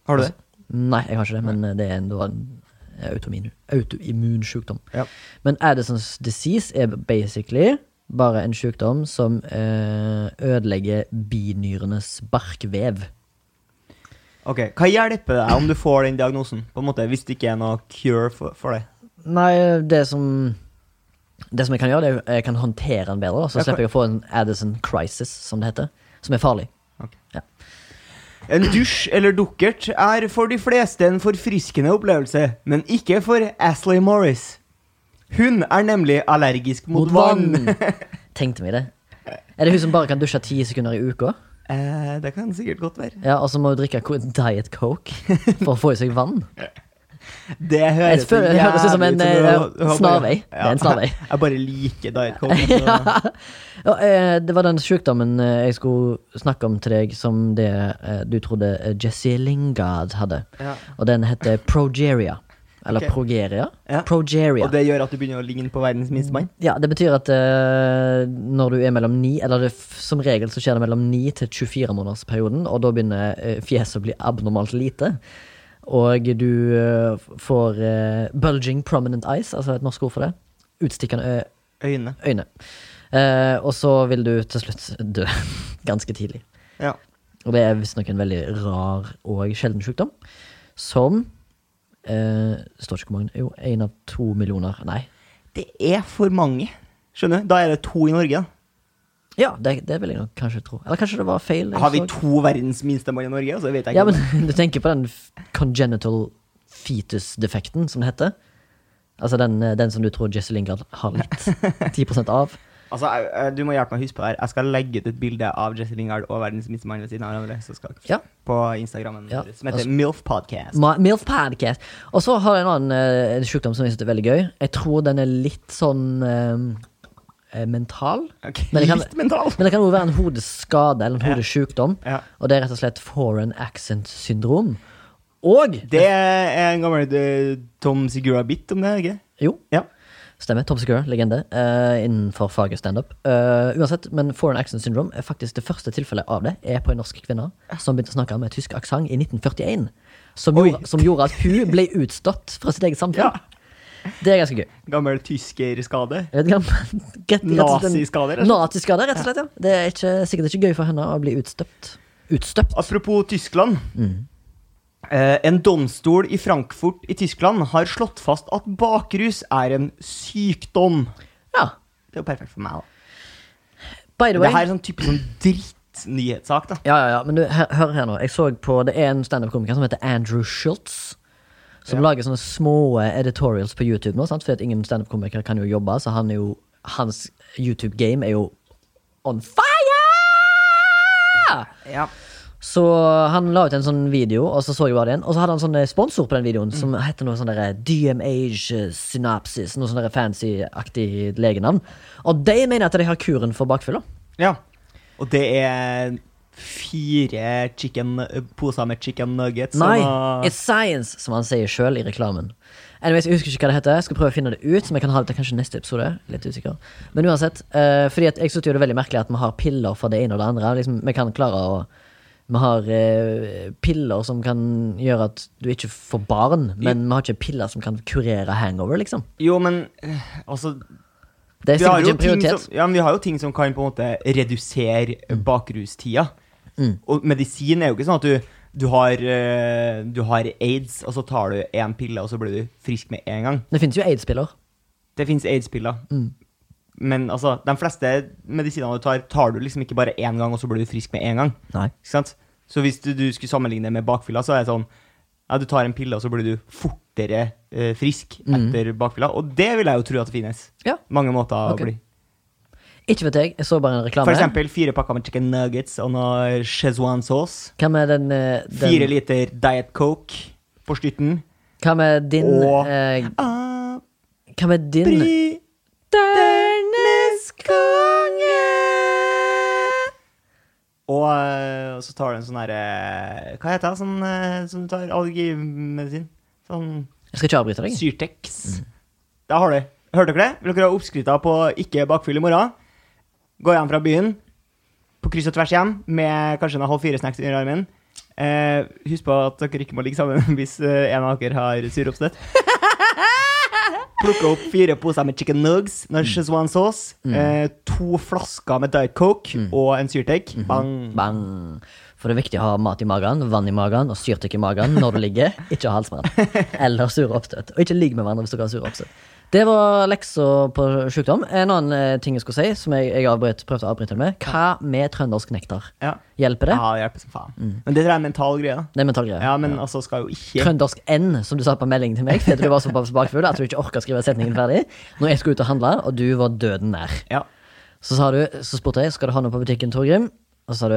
Har du det?
Nei, jeg har ikke det, men eh, det er en, da en eh, autoimmun, autoimmun sykdom.
Ja.
Men Addisons disease er basically bare en sykdom som eh, ødelegger binyrenes barkvev.
Altså, Ok, Hva hjelper det om du får den diagnosen, på en måte, hvis det ikke er noe cure for, for det?
Nei, det som Det som jeg kan gjøre, det er at jeg kan håndtere den bedre. da. Så
Ja,
slipper jeg å få en Addison crisis, som det heter. Som er farlig.
En dusj eller dukkert er for de fleste en forfriskende opplevelse, men ikke for Asley Morris. Hun er nemlig allergisk mot, vann.
Tenkte meg det. Er det hun som bare kan dusje ti sekunder i uka?
Eh, det kan sikkert godt være.
Ja, Og så må hun drikke ko- Diet Coke for å få i seg vann?
Det høres
Jeg føler, det høres ut som en
jævlig
eh,
du- du har bare-
snarvei. Det er en snarvei.
Jeg bare liker Diet Coke. så-
Ja, eh, det var den sykdommen eh, jeg skulle snakke om til deg, som det eh, du trodde eh, Jesse Lingard hadde.
Ja.
Og den heter progeria. Eller
Ok.
progeria?
Ja.
Progeria.
Og det gjør at du begynner å ligne på verdens minste mann?
Ja, det betyr at eh, når du er mellom 9, eller det, f- som regel så skjer det mellom 9 til 24 månedersperioden, og da begynner eh, fjeset å bli abnormalt lite. Og du eh, f- får eh, bulging prominent eyes, altså et norsk ord for det. Utstikkende ø-
Øyne.
øyne. Eh, og så vil du til slutt dø ganske tidlig.
Ja.
Og det er visstnok en veldig rar og sjelden sykdom. Som eh, Står ikke hvor mange Jo, én av to millioner. Nei.
Det er for mange. Skjønner du? Da er det to i Norge. da.
Ja, det, det vil jeg nok kanskje tro. Eller kanskje det var feil. jeg
Har vi
så.
to verdens minste mann i Norge? Så vet jeg ikke
Ja,
om
men
det.
Du tenker på den f- congenital fetus-defekten, som det heter. Altså den, eh, den som du tror Jesse Lingard har litt 10 av.
Altså, jeg, jeg, Du må hjelpe meg å huske på det her. Jeg skal legge ut et bilde av Jesse Lingard og verdens minste mann ved siden av hverandre. Så skal jeg-
Ja.
På Instagrammen
Ja,
vår, som heter
altså-
MILF Podcast.
Ma- Milf Podcast. Og så har jeg en annen eh, en sykdom som jeg synes er veldig gøy. Jeg tror den er litt sånn eh, eh, mental.
Ok,
Men det kan-
Litt mental.
Men det kan også være en hodeskade eller en hodesykdom.
Ja.
Og det er rett og slett foreign accent syndrom. Og
Det er en gammel eh, Tom Sigura-bit om det, ikke
Jo,
Ja.
Stemmer. Tom Segura, legende eh, innenfor faget standup. Uh, uansett, men foreign accent syndrome er faktisk det første tilfellet av det er på en norsk kvinne som begynte å snakke med tysk aksent i 1941. Som
Oi.
gjorde, som gjorde at hun ble utstått fra sitt eget samfunn.
Ja.
Det er ganske gøy.
Gammel tyskerskade.
Jeg vet ikke om- Get- rett og slett en-
Naziskader, rett og slett.
Naziskader, rett og slett. ja. Det er ikke, sikkert ikke gøy for henne å bli utstøpt. Utstøpt?
Apropos Tyskland. Eh, en domstol i Frankfurt i Tyskland har slått fast at bakrus er en sykdom.
Ja.
Det er jo perfekt for meg, da.
By the
Det
way.
her er sånn typisk sånn drittnyhetssak, da.
Ja, ja, ja, men du, hør, hør her nå. Jeg så på, Det er en standup-komiker som heter Andrew Schultz. Som lager sånne små editorials på YouTube nå, sant? fordi at ingen standup-komikere kan jo jobbe, så han er jo, hans YouTube-game er jo on fire!
Ja.
Så han la ut en sånn video, og så så jeg bare den. Og så hadde han sånn eh, sponsor på den videoen som heter noe sånn derre DMH eh, Synapsis. Noe sånn derre fancy-aktig legenavn. Og de mener at de har kuren for bakfylla.
ja. Og det er fire chicken, eh, poser med chicken nuggets.
Nei,
og-
it's science, som han sier sjøl i reklamen. Anyways, jeg husker ikke hva det heter. Jeg skal prøve å finne det ut. Som jeg kan ha det til kanskje neste episode. Litt usikker. Men uansett. eh, fordi at jeg synes jo det er veldig merkelig at vi har piller for det ene og det andre. Liksom, vi kan klare å Vi har eh, piller som kan gjøre at du ikke får barn, men vi har ikke piller som kan kurere hangover, liksom.
Jo, men øh, altså
Det er
vi har,
sikkert ikke
jo
en
ting som,
prioritet. Mm.
ja, men vi har jo ting som kan på en måte redusere bakrustida. Og medisin er jo ikke sånn at du, du, har, øh, du har aids, og så tar du én pille, og så blir du frisk med en gang.
Det finnes jo aids-piller.
Det fins aids-piller.
Mm.
Men altså, de fleste medisinene du tar, tar du liksom ikke bare én gang, og så blir du frisk med en gang.
Nei.
Ikke sant? Så hvis du, du skulle sammenligne med bakfylla, så er det sånn ja, Du tar en pille, og så blir du fortere eh, frisk
Mm.
etter bakfylla. Og det vil jeg jo tro at det finnes.
Ja.
Mange måter
Ok.
å bli.
Ikke vet jeg. Jeg så bare en reklame.
For eksempel fire pakker med chicken nuggets og noe chezwan sauce.
Hva med den, eh,
Fire
den
liter Diet Coke på styrten.
Hva med din
Og-
eh,
Ah,
Hva med din
bry
Dernes
Og eh, så tar du en sånn herre Hva heter det? Sånn eh, som du tar allergimedisin? Sånn
Jeg skal ikke avbryte deg.
Syrtex. Der Mm. har du. Hørte dere det? Vil dere ha oppskrifta på ikke bakfyll i morgen? Gå hjem fra byen, på kryss og tvers hjem, med kanskje en halv fire-snacks under armen. Eh, husk på at dere ikke må ligge sammen hvis eh, en av dere har syreoppstøt. Plukke opp fire poser med chicken nugs, noe Schezwan sauce, eh, to flasker med Diet Coke og en Syrtec. Bang.
Bang. For det er viktig å ha mat i magen, vann i magen og syrtykk i magen når du ligger. Ikke ha halsbrann eller sure oppstøt. Og ikke ligg med hverandre hvis dere har sure oppstøt. Det var leksa på sykdom. En annen eh, ting jeg skulle si, som jeg, jeg avbrøt, prøvde å avbryte det med. Hva med trøndersk nektar?
Ja.
Hjelper det?
ja, det hjelper som faen. Men det tror jeg er en mental greie. da.
Det er mental greie.
Ja, men altså skal jo ikke
Trøndersk N, som du sa på melding til meg, fordi at du var så bakfull at du ikke orka skrive setningen ferdig. Når jeg skulle ut og handle, og du var døden nær.
ja.
Så, sa du, så spurte jeg skal du ha noe på butikken, Torgrim. Og så sa du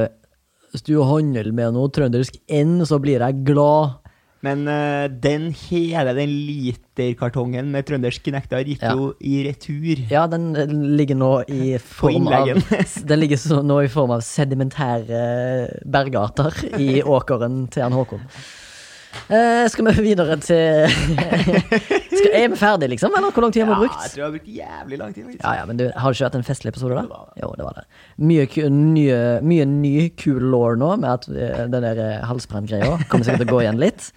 hvis du handler med noe trøndersk N, så blir jeg glad.
Men eh, den hele den literkartongen med trøndersk nektar gikk
Ja.
jo i retur.
Ja, den eh, ligger nå i form av
innleggen.
Den ligger så, nå i form av sedimentære bergarter i åkeren til han Håkon. Eh, skal vi videre til skal, Er vi ferdige, liksom? Eller hvor lang tid har vi
jeg
brukt?
tror jeg har brukt jævlig lang tid. Liksom.
Ja, ja, men du, Har det ikke vært en festlig episode, da? Jo, det var det. Mye, ku- nye, mye ny cool law nå, med at eh, den der eh, halsbranngreia kommer sikkert til å gå igjen litt.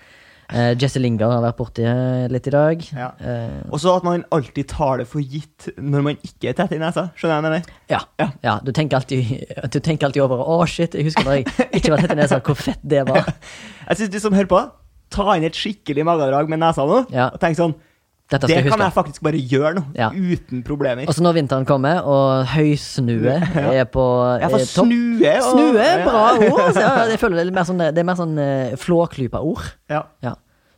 Eh, Jesse Lingard har vært borti eh, litt i dag.
Ja.
Eh,
Og så at man alltid tar det for gitt når man ikke er tett i nesa. Skjønner jeg hva jeg mener?
ja. ja. Du tenker alltid, du tenker alltid over Å, shit, jeg husker da jeg ikke var tett i nesa, hvor fett det var.
Jeg syns du som hører på, ta inn et skikkelig magedrag med nesa nå,
Ja.
og tenk sånn
Dette
Det
skal jeg
kan
huske.
jeg faktisk bare gjøre nå,
Ja.
uten problemer.
Og så når vinteren kommer, og høysnue er på
jeg får
er topp.
snue og
Snue, bra ord. Altså. Ja, jeg føler det er mer sånn, det er mer sånn eh, flåklypa-ord.
Ja.
Ja.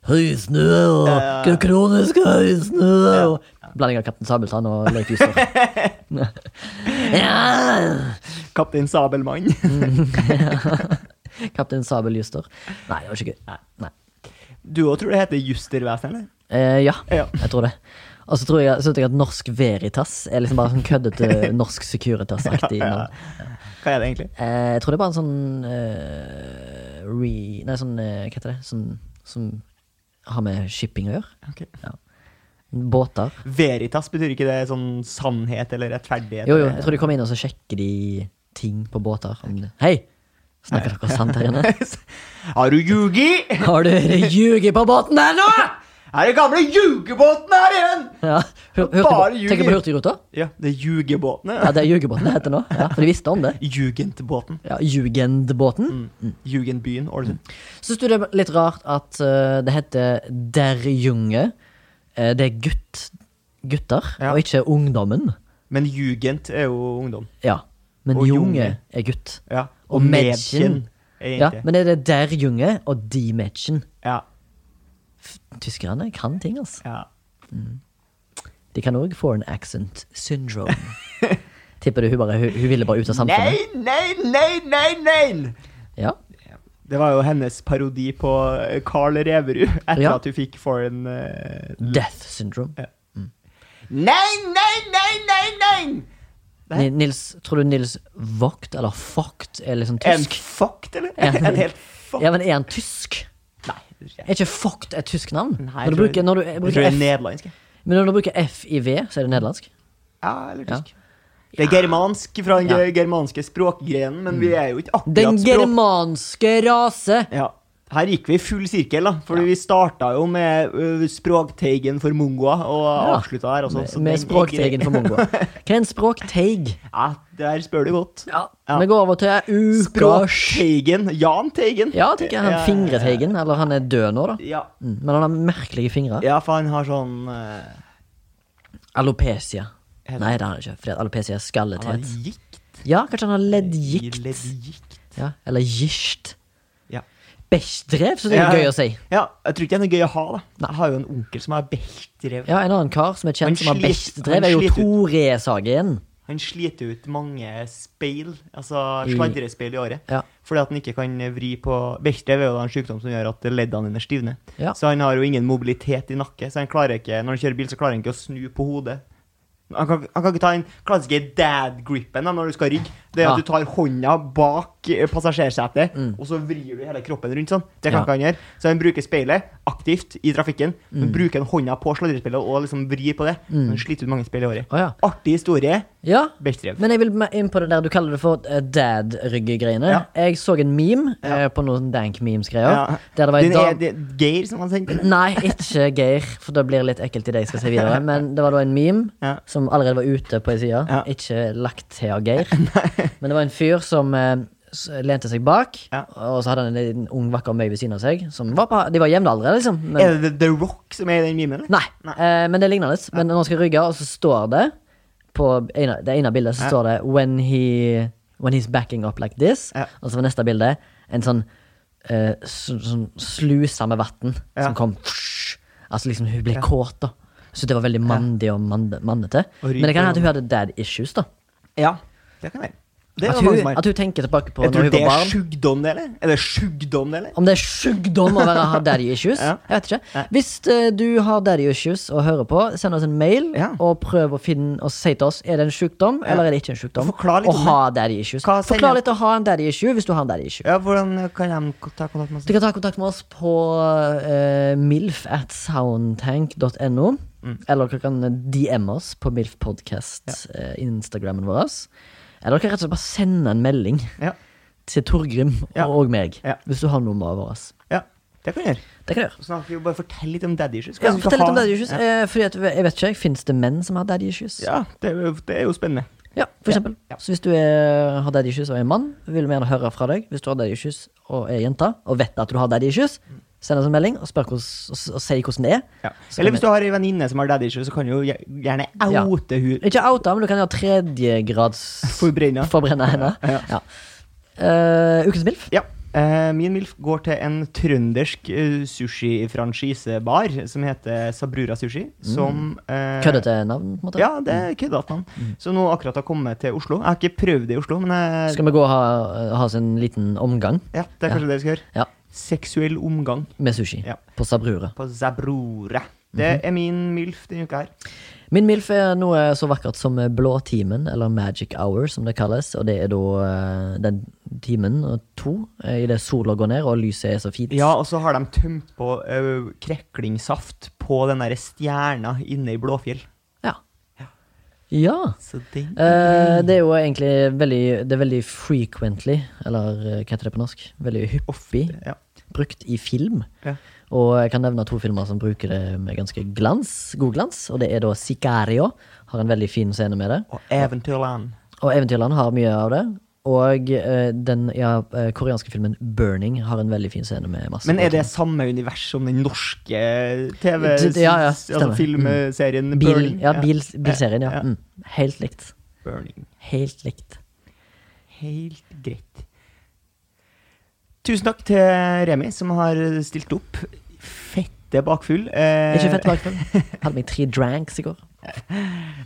Høysnue og
Ja, ja, ja.
kronisk høysnue og Blanding av Kaptein Sabeltann og Leif Juster. ja.
Kaptein Sabelmann.
Mm. Kaptein Sabel Juster. Nei, det var ikke gøy. Nei. Nei.
Du òg tror det heter Justervesenet, eller?
Eh, ja,
Ja.
jeg tror det. Og så tror jeg, så tror jeg at Norsk Veritas er liksom bare sånn køddete Norsk Securitas-aktig navn.
Hva er det egentlig?
Eh, jeg tror det er bare en sånn eh, re... Nei, sånn eh, Hva heter det? Sånn, som har med shipping å gjøre.
Ok.
Båter.
Veritas, betyr ikke det sånn sannhet eller rettferdighet?
Jo, jo,
eller-
jeg tror de kommer inn og så sjekker de ting på båter. Om det. Hei! Snakker dere sant her inne?
Har du ljugi?
Har dere ljuget på båten her nå?!
Er det gamle ljugebåten her igjen?
Ja, hur,
Bare
hurtigbå-
ljuger.
Tenker på Hurtigruta?
Ja, det er ljugebåten.
Ja, det er jugebåten det heter nå. Ja, for de visste om det.
Jugendbåten.
Ja,
Mm.
Jugendbåten.
Jugendbyen.
Mm.
Ålesund.
Syns du det er litt rart at eh, det heter Der Junge? Eh, det er gutt, gutter,
Ja.
og ikke ungdommen.
Men jugend er jo ungdom.
Ja. Men
Og
Junge
Junge.
er gutt.
Ja.
Og medkinn.
er
Ja,
jente.
men er det Der Junge og De Metchen?
Ja.
f- Tyskerne kan ting, altså.
Ja.
De kan òg foreign accent syndrome. Tipper du hun, bare, hun, hun ville bare ut av
Nei,
samfunnet?
nei, nei, nei, nei!
Ja.
Det var jo hennes parodi på eh, Carl Reverud etter
Ja.
at hun fikk foreign eh,
Death syndrome.
Nei, nei, nei, nei, nei!
Ni- Nils, tror du Nils Vogt eller Vogt er liksom
En
tysk?
fucked, eller?
Ja.
En helt fucked?
Ja, men er han tysk?
Nei. det tror jeg ikke.
Er ikke Vogt et tysk navn?
Nei,
når
jeg
du
tror-
bruker, når du, eh,
Jeg tror
bruker
det er
F,
nederlandsk. jeg.
men når du bruker F i V, så er det nederlandsk?
Ja, eller tysk. Det er germansk fra den ge- germanske språkgrenen, men vi er jo ikke
Den
akkurat språk...
germanske rase!
Ja. Her gikk vi i full sirkel, da. For vi starta jo med ø, språkteigen for mongoer, og avslutta her også. så
Med
den gikk
språkteigen
greit.
for mongoer. Hva er en språkteig?
Ja, der spør du godt.
Ja.
Ja.
Vi går over til ukas
Språkteigen. Jan Teigen.
Ja, tenker jeg. Han fingreteigen. Eller han er død nå, da.
Ja.
Mm, Men han har merkelige fingre.
ja, for han har sånn eh,
Alopecia.
Heter-
Nei, det har han ikke. Fordi at alopecia er
Han har
skallethet.
gikt.
Ja, kanskje han har leddgikt.
Leddgikt.
Ja, eller gisht.
Ja.
Bechdrev, så det er jo gøy å si.
Ja, jeg tror ikke det er noe gøy å ha, da. Jeg har jo en onkel som har beltrev.
Ja, En annen kar som er
Han
kjent som har
sliter-
bechdrev,
han
er jo
sliter ut.
Tore Sagen.
Han sliter ut mange speil, altså sladrespeil i året,
Mm. Ja.
fordi at han ikke kan vri på Beltrev er jo da en sykdom som gjør at leddene dine stivner.
Ja.
Så han har jo ingen mobilitet i nakke, så han klarer ikke, når han kjører bil, så klarer han ikke å snu på hodet. Han kan, han kan ikke ta den klassiske dad-gripen da, når du skal rygge. Det
Ja.
er
Mm.
at du tar hånda bak eh, passasjersetet, og så vrir du hele kroppen rundt sånn. Det kan
Ja.
ikke han gjøre. Så han bruker speilet aktivt i trafikken. Men
Mm.
bruker han hånda på sladrespeilet og liksom vrir på det. Han sliter ut mange speil i året.
Å, ja.
Artig historie.
Ja,
Bechdrev.
men jeg vil me- inn på det der du kaller det for eh, dad-ryggegreiene.
Ja.
Jeg så en meme eh, på noen dank-memes-greier.
Ja.
Der det var en
Din er,
dam...
det er Geir som han sendte den.
Nei, ikke Geir, for det blir litt ekkelt i det jeg skal si videre. Men det var da en meme
Ja.
som allerede var ute på ei side.
Ja.
Ikke lagt til av Geir. Men det var en fyr som eh, s- lente seg bak,
Ja.
og så hadde han en liten ung, vakker møy ved siden av seg. Som var på, de var jevnaldrende, liksom. Men,
Er det The Rock som er i den memen? eller?
Nei, eh, men det ligner litt. Men når han skal rygge, og så står det på ene, det ene bildet så står det when, he, 'When he's backing up like this'.
Ja.
Og så var neste bilde en sånn, eh, så, sånn sluse med vann
Ja.
som kom Altså liksom hun ble kåt, da. Så det var veldig mandig og mande- mannete.
Og ryker
Men det kan hende at hun
og-
hadde dad issues, da.
Ja, det kan jeg. Det
At
var
hun,
mange som har.
at hun tenker tilbake på
Jeg
når
tror
hun
det
var
er
barn.
sjukdom, det, eller? Er det sjukdom, det, eller?
Om det er sjukdom å være, ha daddy issues?
Ja.
Jeg vet ikke. Hvis eh, du har daddy issues og hører på, send oss en mail
Ja.
og prøv å finne og si til oss er det en sjukdom eller er det ikke en sjukdom
Forklar litt
å
om
ha daddy issues.
Hva sier
Forklar
jeg?
litt å ha en daddy issue hvis du har en daddy issue.
Ja, hvordan kan de ta kontakt med
Du
oss?
kan ta kontakt med oss på eh, milf at soundtank.no.
Mm.
Eller dere kan DM oss på Milf Podcast, eh, Instagrammen vår. Eller dere kan rett og slett bare sende en melding
Ja.
til Torgrim
Ja.
og meg
Ja.
hvis du har nummeret vårt.
ja, det kan jeg gjøre.
Det kan du gjøre.
Så Snart vi jo bare fortelle litt om daddy issues. Hva
Ja,
som skal
fortell litt om
ha-
daddy issues.
Ja,
Eh, fordi at, jeg vet ikke, Fins det menn som har daddy issues?
ja det, er jo, det er jo spennende.
Ja, for eksempel.
Ja.
Så hvis du er, har daddy issues og er mann, vil vi gjerne høre fra deg. Hvis du har daddy issues og er jente, og vet at du har daddy issues, send oss en melding og, spør hvordan, og, s- og si hvordan det er.
Ja.
Så kan
Eller hvis
vi-
du har ei venninne som har daddy issues, så kan du jo gjer- gjerne
Ja.
oute hun
Ikke outa, men du kan jo ha tredjegrads
Forbrenna.
Forbrenne henne. Ja. Eh, ukens MILF.
Ja. eh, min MILF går til en trøndersk eh, sushi-franchisebar som heter Sabrura Sushi.
Mm.
Som eh,
Køddete navn, på en måte.
Ja, det
Mm.
er køddete navn. Som nå akkurat har kommet til Oslo. Jeg har ikke prøvd det i Oslo, men jeg,
Skal vi gå og ha, ha oss en liten omgang
ja, det er kanskje det vi skal gjøre.
Ja.
Seksuell omgang
med sushi
Ja.
på Sabrura?
på Zabrura.
Mhm.
Det er min MILF denne uka her.
Min MILF er noe så vakkert som Blåtimen, eller Magic Hour, som det kalles. Og det er da eh, den timen og to eh, idet sola går ned og lyset er så fint.
Ja, og så har de tømt på ø, kreklingsaft på den derre stjerna inne i Blåfjell.
Ja. Ja.
Så den
Eh, det er jo egentlig veldig, det er veldig frequently, eller eh, hva heter det på norsk? Veldig hyppig
ja.
brukt i film.
Ja.
Og jeg kan nevne to filmer som bruker det med ganske glans, god glans. Og det er da Sicario. Har en veldig fin scene med det.
Og Eventyrland.
Og Eventyrland har mye av det. Og eh, den ja, eh, koreanske filmen Burning har en veldig fin scene med masse
Men er det
båter.
samme univers som den norske
Det- det- ja, ja,
TV-filmserien
stemmer.
altså
Mm.
filmserien
bil,
Burning?
Ja, bil, bilserien, ja.
Ja.
Mm. Helt likt.
Burning.
Helt likt.
Helt greit. Tusen takk til Remi, som har stilt opp. Fett fette bak full. Eh,
Ikke fett bakfull. Hadde meg tre dranks i går.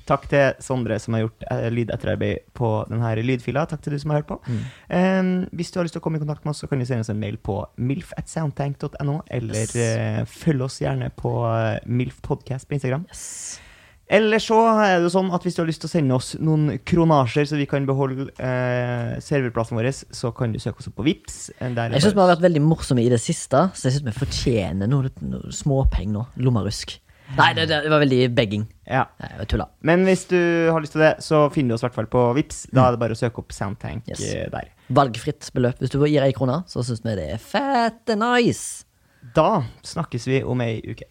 Takk til Sondre som har gjort eh, lydetterarbeid på denne lydfila. Takk til du som har hørt på.
Mm.
Eh, hvis du har lyst til å komme i kontakt med oss, så kan du sende oss en mail på milf.soundtank.no, eller
Yes.
eh, følg oss gjerne på eh, milfpodcast på Instagram.
Yes.
Eller så er det jo sånn at hvis du har lyst til å sende oss noen kronasjer, så vi kan beholde eh, serverplassen vår, så kan du søke oss opp på Vips. Eh, der er
Jeg syns vi
bare-
har vært veldig morsomme i det siste, så jeg syns vi fortjener noe, noe småpenger nå. Lommerusk. Nei, det, det var veldig begging.
ja.
Nei, Jeg tulla.
Men hvis du har lyst til det, så finner du oss i hvert fall på Vips. Da er det bare å søke opp Soundtank
Yes.
eh, der.
Valgfritt beløp. Hvis du gir ei krone, så syns vi det er fette nice.
Da snakkes vi om ei uke.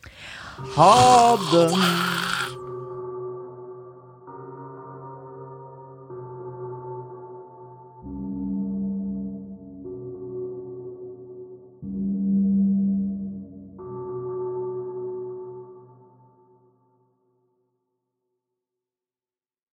Ha det!